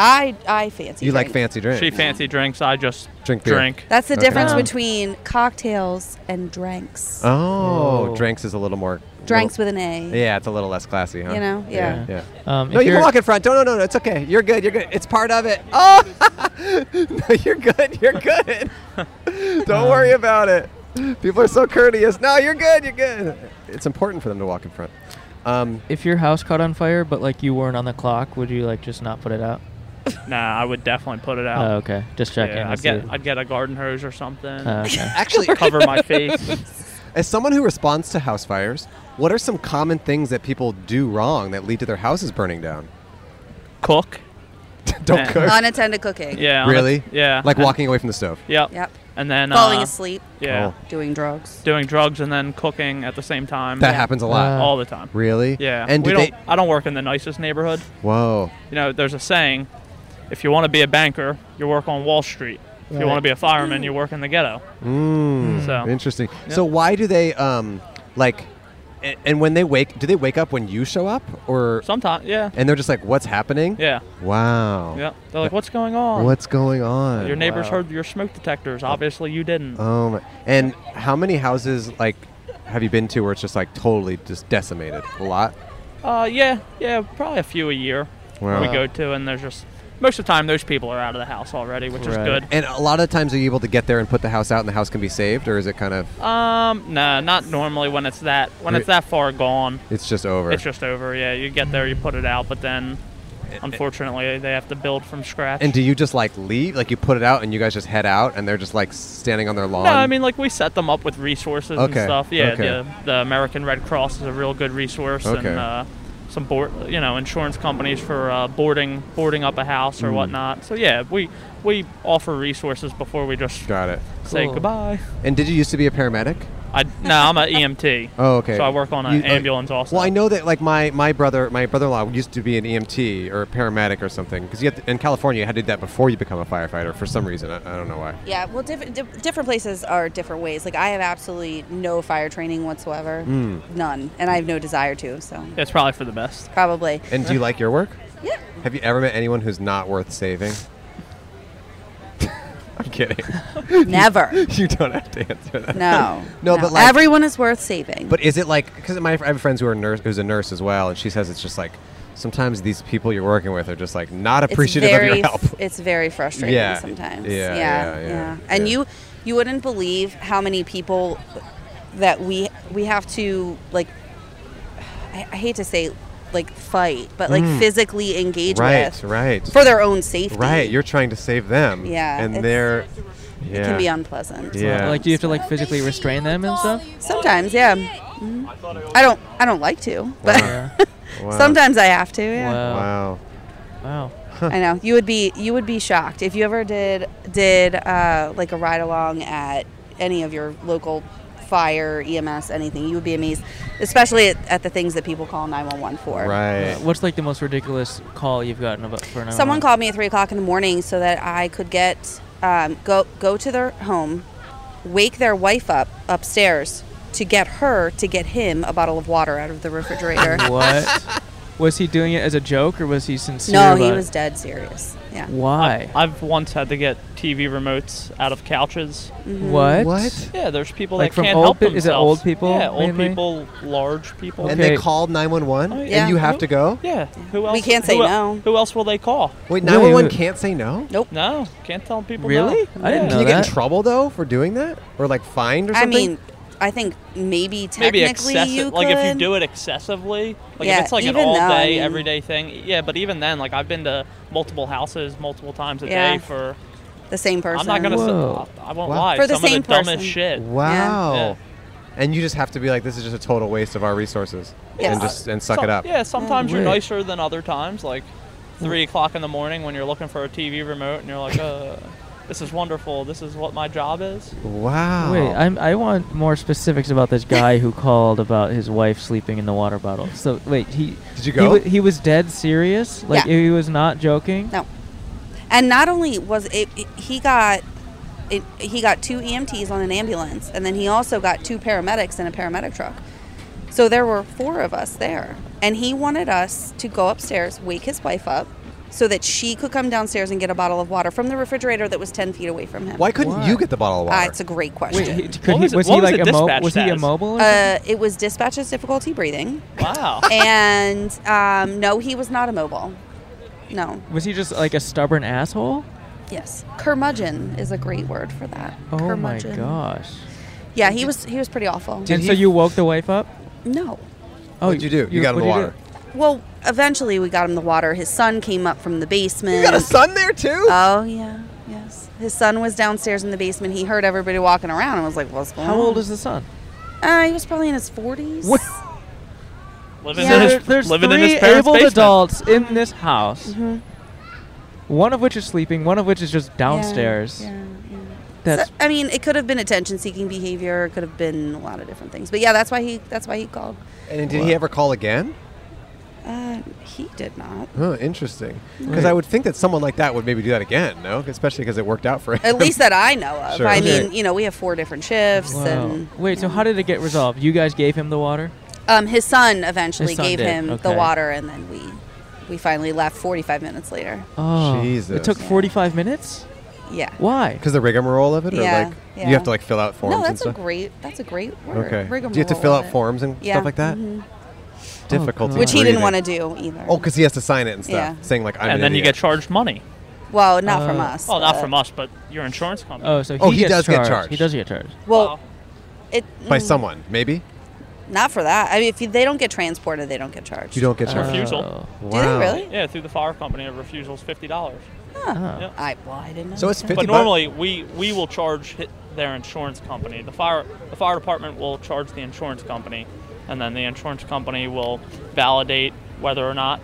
[SPEAKER 15] I I fancy.
[SPEAKER 4] you like
[SPEAKER 15] drink.
[SPEAKER 4] fancy drinks?
[SPEAKER 14] She fancy drinks. I just
[SPEAKER 4] Drink beer.
[SPEAKER 14] drink.
[SPEAKER 15] That's the
[SPEAKER 4] Okay.
[SPEAKER 15] difference
[SPEAKER 4] Oh.
[SPEAKER 15] between cocktails and drinks.
[SPEAKER 4] Oh,
[SPEAKER 1] Oh.
[SPEAKER 4] drinks is a little more.
[SPEAKER 15] Drinks
[SPEAKER 4] little-
[SPEAKER 15] with an A.
[SPEAKER 4] Yeah, it's a little less classy, huh?
[SPEAKER 15] You know? Yeah.
[SPEAKER 4] Yeah. no,
[SPEAKER 1] Um, if
[SPEAKER 4] you can
[SPEAKER 1] you're-
[SPEAKER 4] walk in front. No, no, no, no. It's okay. You're good. You're good. It's part of it. Oh, no, you're good. You're good. Don't worry about it. People are so courteous. No, you're good. You're good. It's important for them to walk in front. Um,
[SPEAKER 1] If your house caught on fire, but like you weren't on the clock, would you like just not put it out?
[SPEAKER 14] Nah, I would definitely put it out.
[SPEAKER 1] Oh, okay. Just checking.
[SPEAKER 14] Yeah,
[SPEAKER 1] I
[SPEAKER 14] I'd
[SPEAKER 1] see
[SPEAKER 14] get
[SPEAKER 1] it.
[SPEAKER 14] I'd get a garden hose or something.
[SPEAKER 1] Oh, okay.
[SPEAKER 4] Actually-
[SPEAKER 14] cover my face.
[SPEAKER 4] As someone who responds to house fires, what are some common things that people do wrong that lead to their houses burning down?
[SPEAKER 14] Cook.
[SPEAKER 4] Don't
[SPEAKER 14] Yeah.
[SPEAKER 4] cook.
[SPEAKER 15] Unattended cooking.
[SPEAKER 14] Yeah. on
[SPEAKER 4] Really?
[SPEAKER 14] the- yeah.
[SPEAKER 4] Like
[SPEAKER 14] and-
[SPEAKER 4] walking away from the stove.
[SPEAKER 14] Yep.
[SPEAKER 15] Yep.
[SPEAKER 14] And then
[SPEAKER 15] Falling
[SPEAKER 14] uh,
[SPEAKER 15] asleep.
[SPEAKER 14] Yeah.
[SPEAKER 4] Oh.
[SPEAKER 15] Doing drugs.
[SPEAKER 14] Doing drugs and then cooking at the same time.
[SPEAKER 4] That Yeah. happens a lot.
[SPEAKER 14] All the time.
[SPEAKER 4] Really?
[SPEAKER 14] Yeah.
[SPEAKER 4] And
[SPEAKER 14] we
[SPEAKER 4] do
[SPEAKER 14] don't. I don't work in the nicest neighborhood.
[SPEAKER 4] Whoa.
[SPEAKER 14] You know, there's a saying: if you want to be a banker, you work on Wall Street. If you
[SPEAKER 4] Right.
[SPEAKER 14] want to be a fireman, you work in the ghetto.
[SPEAKER 4] Mm,
[SPEAKER 14] So-
[SPEAKER 4] interesting.
[SPEAKER 14] Yeah.
[SPEAKER 4] So why do they um like and, and when they wake do they wake up when you show up or
[SPEAKER 14] Sometimes, yeah.
[SPEAKER 4] and they're just like what's happening?
[SPEAKER 14] Yeah.
[SPEAKER 4] Wow.
[SPEAKER 14] Yeah. They're like, "What's going on?
[SPEAKER 4] What's going on?
[SPEAKER 14] Your neighbors
[SPEAKER 4] Oh, Wow.
[SPEAKER 14] heard your smoke detectors. Obviously, you didn't.
[SPEAKER 4] Oh my. And how many houses like have you been to where it's just like totally just decimated? A lot.
[SPEAKER 14] Uh, yeah, yeah, probably a few a year
[SPEAKER 4] Wow.
[SPEAKER 14] we go to, and there's just most of the time those people are out of the house already, which
[SPEAKER 4] Right.
[SPEAKER 14] is
[SPEAKER 4] And a lot of times, are you able to get there and put the house out, and the house can be saved, or is it kind of
[SPEAKER 14] good. Um, nah, not normally when it's that when it's that far gone.
[SPEAKER 4] it's just over?
[SPEAKER 14] It's just over. Yeah, you get there, you put it out, but then unfortunately they have to build from scratch.
[SPEAKER 4] and do you just like leave? Like you put it out, and you guys just head out, and they're just like standing on their lawn.
[SPEAKER 14] No, I mean like we set them up with resources
[SPEAKER 4] Okay,
[SPEAKER 14] and stuff. Yeah,
[SPEAKER 4] okay.
[SPEAKER 14] the, the American Red Cross is a real good resource,
[SPEAKER 4] Okay.
[SPEAKER 14] and uh, some board, you know, insurance companies for uh, boarding boarding up a house or
[SPEAKER 4] Mm.
[SPEAKER 14] whatnot. So yeah, we we offer resources before we just
[SPEAKER 4] Got it.
[SPEAKER 14] say
[SPEAKER 4] Cool.
[SPEAKER 14] goodbye.
[SPEAKER 4] and did you used to be a paramedic?
[SPEAKER 14] I no, I'm an EMT.
[SPEAKER 4] Oh, okay.
[SPEAKER 14] So I work on an
[SPEAKER 4] You- uh,
[SPEAKER 14] ambulance also.
[SPEAKER 4] Well, I know that like my, my brother my brother in law used to be an EMT or a paramedic or something because you had to, in California you had to do that before you become a firefighter for some reason I, I don't know why.
[SPEAKER 16] Yeah, well, diff- di- different places are different ways. Like I have absolutely no fire training whatsoever,
[SPEAKER 4] Mm.
[SPEAKER 16] none, and I have no desire to. So
[SPEAKER 14] That's probably for the best.
[SPEAKER 16] probably.
[SPEAKER 4] And do you like your work? Yeah. Have you ever met anyone who's not worth saving? I'm kidding.
[SPEAKER 16] Never.
[SPEAKER 4] you don't have to answer that.
[SPEAKER 16] No.
[SPEAKER 4] No, but like
[SPEAKER 16] everyone is worth saving.
[SPEAKER 4] But is it like because my I have friends who are nurse who's a nurse as well, and she says it's just like sometimes these people you're working with are just like not
[SPEAKER 16] It's
[SPEAKER 4] appreciative
[SPEAKER 16] very
[SPEAKER 4] of your help.
[SPEAKER 16] f- It's very frustrating
[SPEAKER 4] Yeah,
[SPEAKER 16] sometimes.
[SPEAKER 4] yeah,
[SPEAKER 16] Yeah,
[SPEAKER 4] yeah,
[SPEAKER 16] yeah,
[SPEAKER 4] yeah,
[SPEAKER 16] And
[SPEAKER 4] yeah.
[SPEAKER 16] you you wouldn't believe how many people that we we have to like. I, I hate to say like fight, but like
[SPEAKER 4] Mm.
[SPEAKER 16] physically engage
[SPEAKER 4] right,
[SPEAKER 16] with
[SPEAKER 4] right.
[SPEAKER 16] for their own safety.
[SPEAKER 4] Right, you're trying to save them.
[SPEAKER 16] Yeah,
[SPEAKER 4] and
[SPEAKER 16] it's-
[SPEAKER 4] they're yeah.
[SPEAKER 16] It can be unpleasant.
[SPEAKER 4] Yeah.
[SPEAKER 1] Like, do you have to like physically restrain them and stuff?
[SPEAKER 16] Sometimes, yeah. Mhm. I don't. I don't like to, but
[SPEAKER 1] Wow.
[SPEAKER 4] Wow.
[SPEAKER 16] sometimes I have to. Yeah.
[SPEAKER 4] Wow.
[SPEAKER 1] Wow.
[SPEAKER 16] I know you would be you would be shocked if you ever did did uh, like a ride along at any of your local fire EMS anything you would be amazed especially at, at the things that people call 911 for
[SPEAKER 1] Uh, what's like the most ridiculous call you've gotten about for an
[SPEAKER 16] someone called me at three o'clock in the morning so that I could get um, go go to their home wake their wife up upstairs to get her to get him a bottle of water out of the refrigerator
[SPEAKER 1] What? was he doing it as a joke or was he sincere?
[SPEAKER 16] no he
[SPEAKER 1] about it?
[SPEAKER 16] was dead serious yeah
[SPEAKER 1] Why?
[SPEAKER 14] I, have once had to get TV remotes out of couches.
[SPEAKER 16] Mhm.
[SPEAKER 1] What? What?
[SPEAKER 14] Yeah, there's people
[SPEAKER 1] Like
[SPEAKER 14] that
[SPEAKER 1] from
[SPEAKER 14] can't
[SPEAKER 1] old
[SPEAKER 14] help
[SPEAKER 1] pe-
[SPEAKER 14] themselves.
[SPEAKER 1] is it old people
[SPEAKER 14] Yeah, old
[SPEAKER 1] mainly?
[SPEAKER 14] people, large people.
[SPEAKER 4] And they called 911 and you have to go?
[SPEAKER 14] Oh, Yeah. Who else?
[SPEAKER 16] We can't say
[SPEAKER 14] who
[SPEAKER 16] no.
[SPEAKER 14] Who else will they call?
[SPEAKER 4] Wait, 911 can't say no?
[SPEAKER 16] Nope.
[SPEAKER 14] No, can't tell people.
[SPEAKER 4] Really?
[SPEAKER 14] No.
[SPEAKER 4] I didn't
[SPEAKER 14] Yeah.
[SPEAKER 4] Can you get in trouble though for doing that or like fined or
[SPEAKER 16] I
[SPEAKER 4] something?
[SPEAKER 16] mean I think maybe technically
[SPEAKER 14] Maybe excessive.
[SPEAKER 16] you could
[SPEAKER 14] like if you do it excessively, like
[SPEAKER 16] Yeah,
[SPEAKER 14] if it's like an
[SPEAKER 16] even though,
[SPEAKER 14] all
[SPEAKER 16] I
[SPEAKER 14] day,
[SPEAKER 16] mean-
[SPEAKER 14] everyday thing. Yeah, but even then, like I've been to multiple houses multiple times a
[SPEAKER 16] Yeah.
[SPEAKER 14] day for.
[SPEAKER 16] the same person.
[SPEAKER 14] I'm not gonna.
[SPEAKER 4] Whoa.
[SPEAKER 14] Say, I won't
[SPEAKER 4] Wow.
[SPEAKER 14] lie.
[SPEAKER 16] For the
[SPEAKER 14] Some of
[SPEAKER 16] same
[SPEAKER 14] the dumbest
[SPEAKER 16] person.
[SPEAKER 14] shit.
[SPEAKER 4] Wow.
[SPEAKER 14] Yeah.
[SPEAKER 4] And you just have to be like, this is just a total waste of our resources, and just and suck
[SPEAKER 14] Some-
[SPEAKER 4] it up.
[SPEAKER 14] Yeah, sometimes
[SPEAKER 16] Mm.
[SPEAKER 14] you're
[SPEAKER 4] Weird.
[SPEAKER 14] nicer than other times. Like three o'clock in the morning when you're looking for a TV remote, and you're like, uh, "This is wonderful. This is what my job is."
[SPEAKER 4] Wow.
[SPEAKER 1] Wait, I'm, I want more specifics about this guy who called about his wife sleeping in the water bottle. So wait, he
[SPEAKER 4] did you
[SPEAKER 1] He,
[SPEAKER 16] go?
[SPEAKER 1] wa- he was dead serious. Like
[SPEAKER 16] Yeah.
[SPEAKER 1] he was not joking.
[SPEAKER 16] No. And not only was it, it- he got it, he got two EMTs on an ambulance, and then he also got two paramedics in a paramedic truck. So there were four of us there, and he wanted us to go upstairs, wake his wife up, so that she could come downstairs and get a bottle of water from the refrigerator that was ten feet away from him.
[SPEAKER 4] Why couldn't you get the bottle of water?
[SPEAKER 16] Uh, it's a great question.
[SPEAKER 1] Wait, he, could he, was, he like immobile? Was he immobile? or something?
[SPEAKER 16] Uh, it was dispatch's difficulty breathing.
[SPEAKER 14] Wow.
[SPEAKER 16] and um, no, he was not immobile. No.
[SPEAKER 1] was he just like a stubborn asshole?
[SPEAKER 16] Yes. Curmudgeon is a great word for that.
[SPEAKER 1] Oh my
[SPEAKER 16] Curmudgeon.
[SPEAKER 1] gosh!
[SPEAKER 16] Yeah, he was he was pretty awful.
[SPEAKER 1] and so you woke the wife up?
[SPEAKER 16] No.
[SPEAKER 1] Oh,
[SPEAKER 4] What'd you do? You got in the
[SPEAKER 1] what'd you
[SPEAKER 4] water.
[SPEAKER 1] do?
[SPEAKER 16] Well, eventually we got him the water. His son came up from the basement.
[SPEAKER 4] You got a son there too?
[SPEAKER 16] Oh yeah, yes. His son was downstairs in the basement. He heard everybody walking around and was like, "What's going
[SPEAKER 1] How
[SPEAKER 16] on?"
[SPEAKER 1] old is the son?
[SPEAKER 16] Uh, he was probably in his forties.
[SPEAKER 1] What?
[SPEAKER 14] Living
[SPEAKER 16] Yeah.
[SPEAKER 14] in
[SPEAKER 1] There-
[SPEAKER 14] his,
[SPEAKER 1] there's
[SPEAKER 14] living in
[SPEAKER 1] three
[SPEAKER 14] his parents'
[SPEAKER 1] able
[SPEAKER 14] basement.
[SPEAKER 1] adults in this house. One of which is sleeping. One of which is just downstairs.
[SPEAKER 16] yeah, yeah.
[SPEAKER 1] That's
[SPEAKER 16] So, I mean, it could have been attention-seeking behavior. It could have been a lot of different things. But yeah, that's why he that's why he called.
[SPEAKER 4] And did he ever call again?
[SPEAKER 16] Uh, he did not.
[SPEAKER 4] Oh, interesting. Because
[SPEAKER 16] Right.
[SPEAKER 4] I would think that someone like that would maybe do that again, no? Especially because it worked out for him.
[SPEAKER 16] At least that I know of.
[SPEAKER 4] Sure.
[SPEAKER 16] I
[SPEAKER 4] Okay.
[SPEAKER 16] mean, you know, we have four different shifts,
[SPEAKER 1] Wow.
[SPEAKER 16] and
[SPEAKER 1] Wait, so how did it get resolved? You guys gave him the water?
[SPEAKER 16] um, his son eventually
[SPEAKER 1] His son
[SPEAKER 16] gave
[SPEAKER 1] did,
[SPEAKER 16] him the
[SPEAKER 1] okay.
[SPEAKER 16] water, and then we we finally left 45 minutes later.
[SPEAKER 1] Oh,
[SPEAKER 4] Jesus.
[SPEAKER 1] It took 45 minutes?
[SPEAKER 16] Yeah.
[SPEAKER 1] Why?
[SPEAKER 4] Because the rigmarole of it, or
[SPEAKER 16] Yeah,
[SPEAKER 4] like
[SPEAKER 16] yeah.
[SPEAKER 4] you have to like fill out forms.
[SPEAKER 16] No, that's
[SPEAKER 4] and
[SPEAKER 16] a
[SPEAKER 4] stuff?
[SPEAKER 16] great. That's a great word.
[SPEAKER 4] Okay. Do you have to
[SPEAKER 16] Rigmarole
[SPEAKER 4] fill
[SPEAKER 16] of
[SPEAKER 4] out
[SPEAKER 16] it.
[SPEAKER 4] forms and stuff
[SPEAKER 16] Yeah.
[SPEAKER 4] like that?
[SPEAKER 16] Mhm.
[SPEAKER 4] Difficult.
[SPEAKER 16] Which he didn't want to do either.
[SPEAKER 4] Oh, because he has to sign it and stuff,
[SPEAKER 16] Yeah.
[SPEAKER 4] saying like I'm. Uh,
[SPEAKER 14] and then you get charged money.
[SPEAKER 16] Well, Oh, not from us.
[SPEAKER 14] Uh, Well, not
[SPEAKER 16] but-
[SPEAKER 14] from us, but your insurance company.
[SPEAKER 1] Oh, so he,
[SPEAKER 4] Oh, he
[SPEAKER 1] gets
[SPEAKER 4] does get
[SPEAKER 1] charged.
[SPEAKER 4] charged.
[SPEAKER 1] He does get charged.
[SPEAKER 16] Well, it
[SPEAKER 4] by
[SPEAKER 16] mm,
[SPEAKER 4] someone, maybe.
[SPEAKER 16] Not for that. I mean, if you- they don't get transported, they don't get charged.
[SPEAKER 4] You don't get
[SPEAKER 14] It's
[SPEAKER 4] charged.
[SPEAKER 14] refusal.
[SPEAKER 4] Do they Oh. Wow. really?
[SPEAKER 14] Yeah, through the fire company, a refusal is fifty dollars. Yeah.
[SPEAKER 16] I well, I didn't know.
[SPEAKER 4] So it's
[SPEAKER 16] that.
[SPEAKER 4] 50
[SPEAKER 14] But
[SPEAKER 4] bucks?
[SPEAKER 14] normally, we we will charge hit their insurance company. The fire the fire department will charge the insurance company, and then the insurance company will validate whether or not.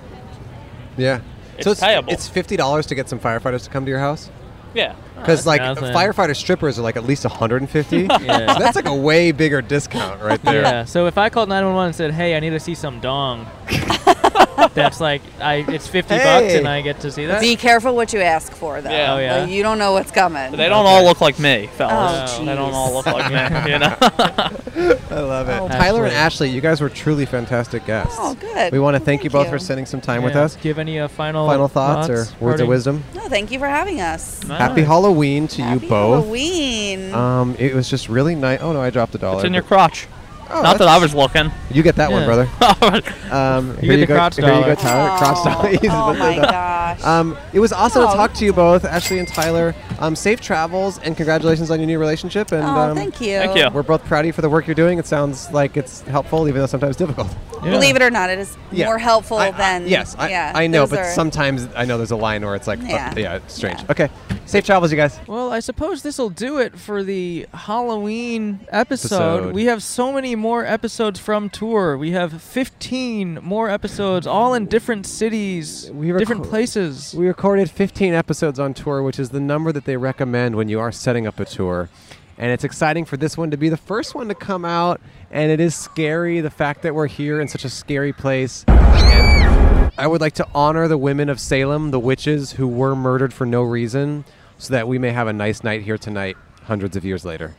[SPEAKER 4] Yeah.
[SPEAKER 14] It's
[SPEAKER 4] so it's,
[SPEAKER 14] payable.
[SPEAKER 4] It's fifty dollars to get some firefighters to come to your house.
[SPEAKER 14] Yeah.
[SPEAKER 4] Because like
[SPEAKER 14] nothing.
[SPEAKER 4] firefighter strippers are like at least 150.
[SPEAKER 1] Yeah.
[SPEAKER 4] So that's like a way bigger discount right there.
[SPEAKER 1] Yeah. So if I called 911 and said, "Hey, I need to see some dong," that's like I it's 50 bucks
[SPEAKER 16] Hey.
[SPEAKER 1] and I get to see that.
[SPEAKER 16] Be careful what you ask for, though.
[SPEAKER 1] Yeah. Oh, yeah.
[SPEAKER 16] Like, you don't know what's coming.
[SPEAKER 14] They don't all look like me, fellas.
[SPEAKER 16] Oh,
[SPEAKER 14] they don't all look like me. You know.
[SPEAKER 4] I love it. Oh, Tyler and Ashley, you guys were truly fantastic guests.
[SPEAKER 16] Oh, good.
[SPEAKER 4] We want to thank you both
[SPEAKER 16] you.
[SPEAKER 4] for spending some time with
[SPEAKER 1] Yeah.
[SPEAKER 4] us.
[SPEAKER 1] Do you have any uh, final
[SPEAKER 4] Final thoughts or words of
[SPEAKER 1] parting?
[SPEAKER 4] wisdom?
[SPEAKER 16] No, thank you for having us.
[SPEAKER 4] Happy Halloween to you both.
[SPEAKER 16] Halloween.
[SPEAKER 4] Um, it was just really nice. Oh no, I dropped a dollar.
[SPEAKER 14] It's in your
[SPEAKER 4] but-
[SPEAKER 14] crotch.
[SPEAKER 4] Oh,
[SPEAKER 14] Not that
[SPEAKER 4] that's-
[SPEAKER 14] I was looking.
[SPEAKER 4] You get that one,
[SPEAKER 14] Yeah.
[SPEAKER 4] brother. um,
[SPEAKER 14] You
[SPEAKER 4] here
[SPEAKER 14] get
[SPEAKER 4] you
[SPEAKER 14] the
[SPEAKER 4] go,
[SPEAKER 14] crotch
[SPEAKER 4] here you go,
[SPEAKER 14] dollar.
[SPEAKER 4] Tyler. Crotch dollar. He's
[SPEAKER 16] Oh
[SPEAKER 4] been
[SPEAKER 16] my
[SPEAKER 4] done.
[SPEAKER 16] gosh.
[SPEAKER 4] Um, it was awesome
[SPEAKER 16] Oh.
[SPEAKER 4] to talk to you both, Ashley and Tyler. Um, safe travels and congratulations on your new relationship. And
[SPEAKER 16] Oh,
[SPEAKER 4] um,
[SPEAKER 16] thank you. Thank you.
[SPEAKER 4] We're both proud of you for the work you're doing. It sounds like it's helpful, even though sometimes difficult.
[SPEAKER 16] Believe it or not, it is
[SPEAKER 4] Yeah.
[SPEAKER 16] more helpful than.
[SPEAKER 4] Yes, I,
[SPEAKER 16] yeah,
[SPEAKER 4] I know,
[SPEAKER 16] those
[SPEAKER 4] but
[SPEAKER 16] are-
[SPEAKER 4] sometimes I know there's a line where it's like, uh, yeah,
[SPEAKER 16] Yeah.
[SPEAKER 4] it's strange. Okay, safe travels, you guys.
[SPEAKER 1] Well, I suppose this will do it for the Halloween episode.
[SPEAKER 4] Episode.
[SPEAKER 1] We have so many more episodes from tour. We have 15 more episodes, all in different cities, different places.
[SPEAKER 4] We recorded 15 episodes on tour, which is the number that they recommend when you are setting up a tour. And it's exciting for this one to be the first one to come out. And it is scary, the fact that we're here in such a scary place. And I would like to honor the women of Salem, the witches who were murdered for no reason, so that we may have a nice night here tonight, hundreds of years later.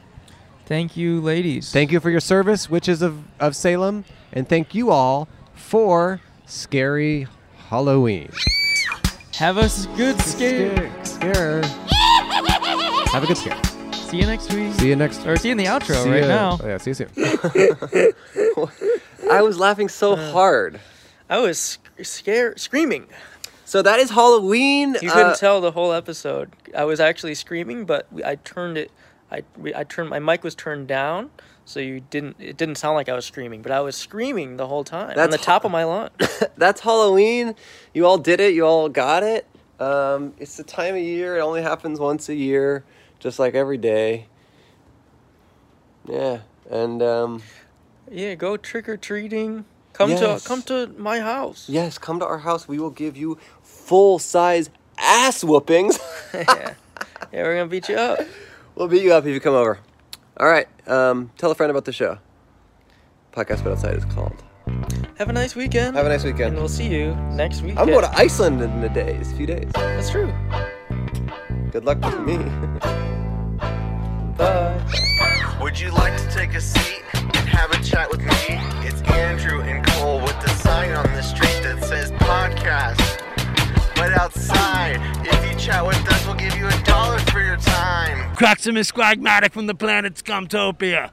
[SPEAKER 1] Thank you, ladies.
[SPEAKER 4] Thank you for your service, witches of, of Salem. And thank you all for Scary Halloween.
[SPEAKER 1] Have a s- good scare.
[SPEAKER 4] Scare. Have a good scare.
[SPEAKER 1] See you next week.
[SPEAKER 4] See you next.
[SPEAKER 1] Or see you in the outro
[SPEAKER 4] See
[SPEAKER 1] right
[SPEAKER 4] ya.
[SPEAKER 1] now.
[SPEAKER 4] Oh, yeah, see you soon.
[SPEAKER 2] I was laughing so hard.
[SPEAKER 17] Uh, I was sc- scared, screaming.
[SPEAKER 2] So that is Halloween.
[SPEAKER 17] You
[SPEAKER 2] uh,
[SPEAKER 17] couldn't tell the whole episode. I was actually screaming, but we- I turned it. I we- I turned my mic was turned down, so you didn't. It didn't sound like I was screaming, but I was screaming the whole time on
[SPEAKER 2] That's
[SPEAKER 17] the top of my lung.
[SPEAKER 2] That's Halloween. You all did it. You all got it. Um, it's the time of year. It only happens once a year, just like every day. Yeah, and um,
[SPEAKER 17] Yeah, go trick or treating. Come
[SPEAKER 2] Yes.
[SPEAKER 17] to come to my house.
[SPEAKER 2] yes, come to our house. We will give you full size ass whoopings. yeah.
[SPEAKER 17] we're gonna beat you up.
[SPEAKER 2] We'll beat you up if you come over. All right. Um, tell a friend about the show. Podcast, but outside is called.
[SPEAKER 17] Have a nice weekend.
[SPEAKER 2] Have a nice weekend.
[SPEAKER 17] And we'll see you next week.
[SPEAKER 2] I'm going to Iceland in the days, few days.
[SPEAKER 17] That's true.
[SPEAKER 2] Good luck with me.
[SPEAKER 3] Would you like to take a seat and have a chat with me? It's Andrew and Cole with the sign on the street that says podcast. But outside, if you chat with us, we'll give you a dollar for your time.
[SPEAKER 12] Cruximus Squagmatic from the planet Scumtopia.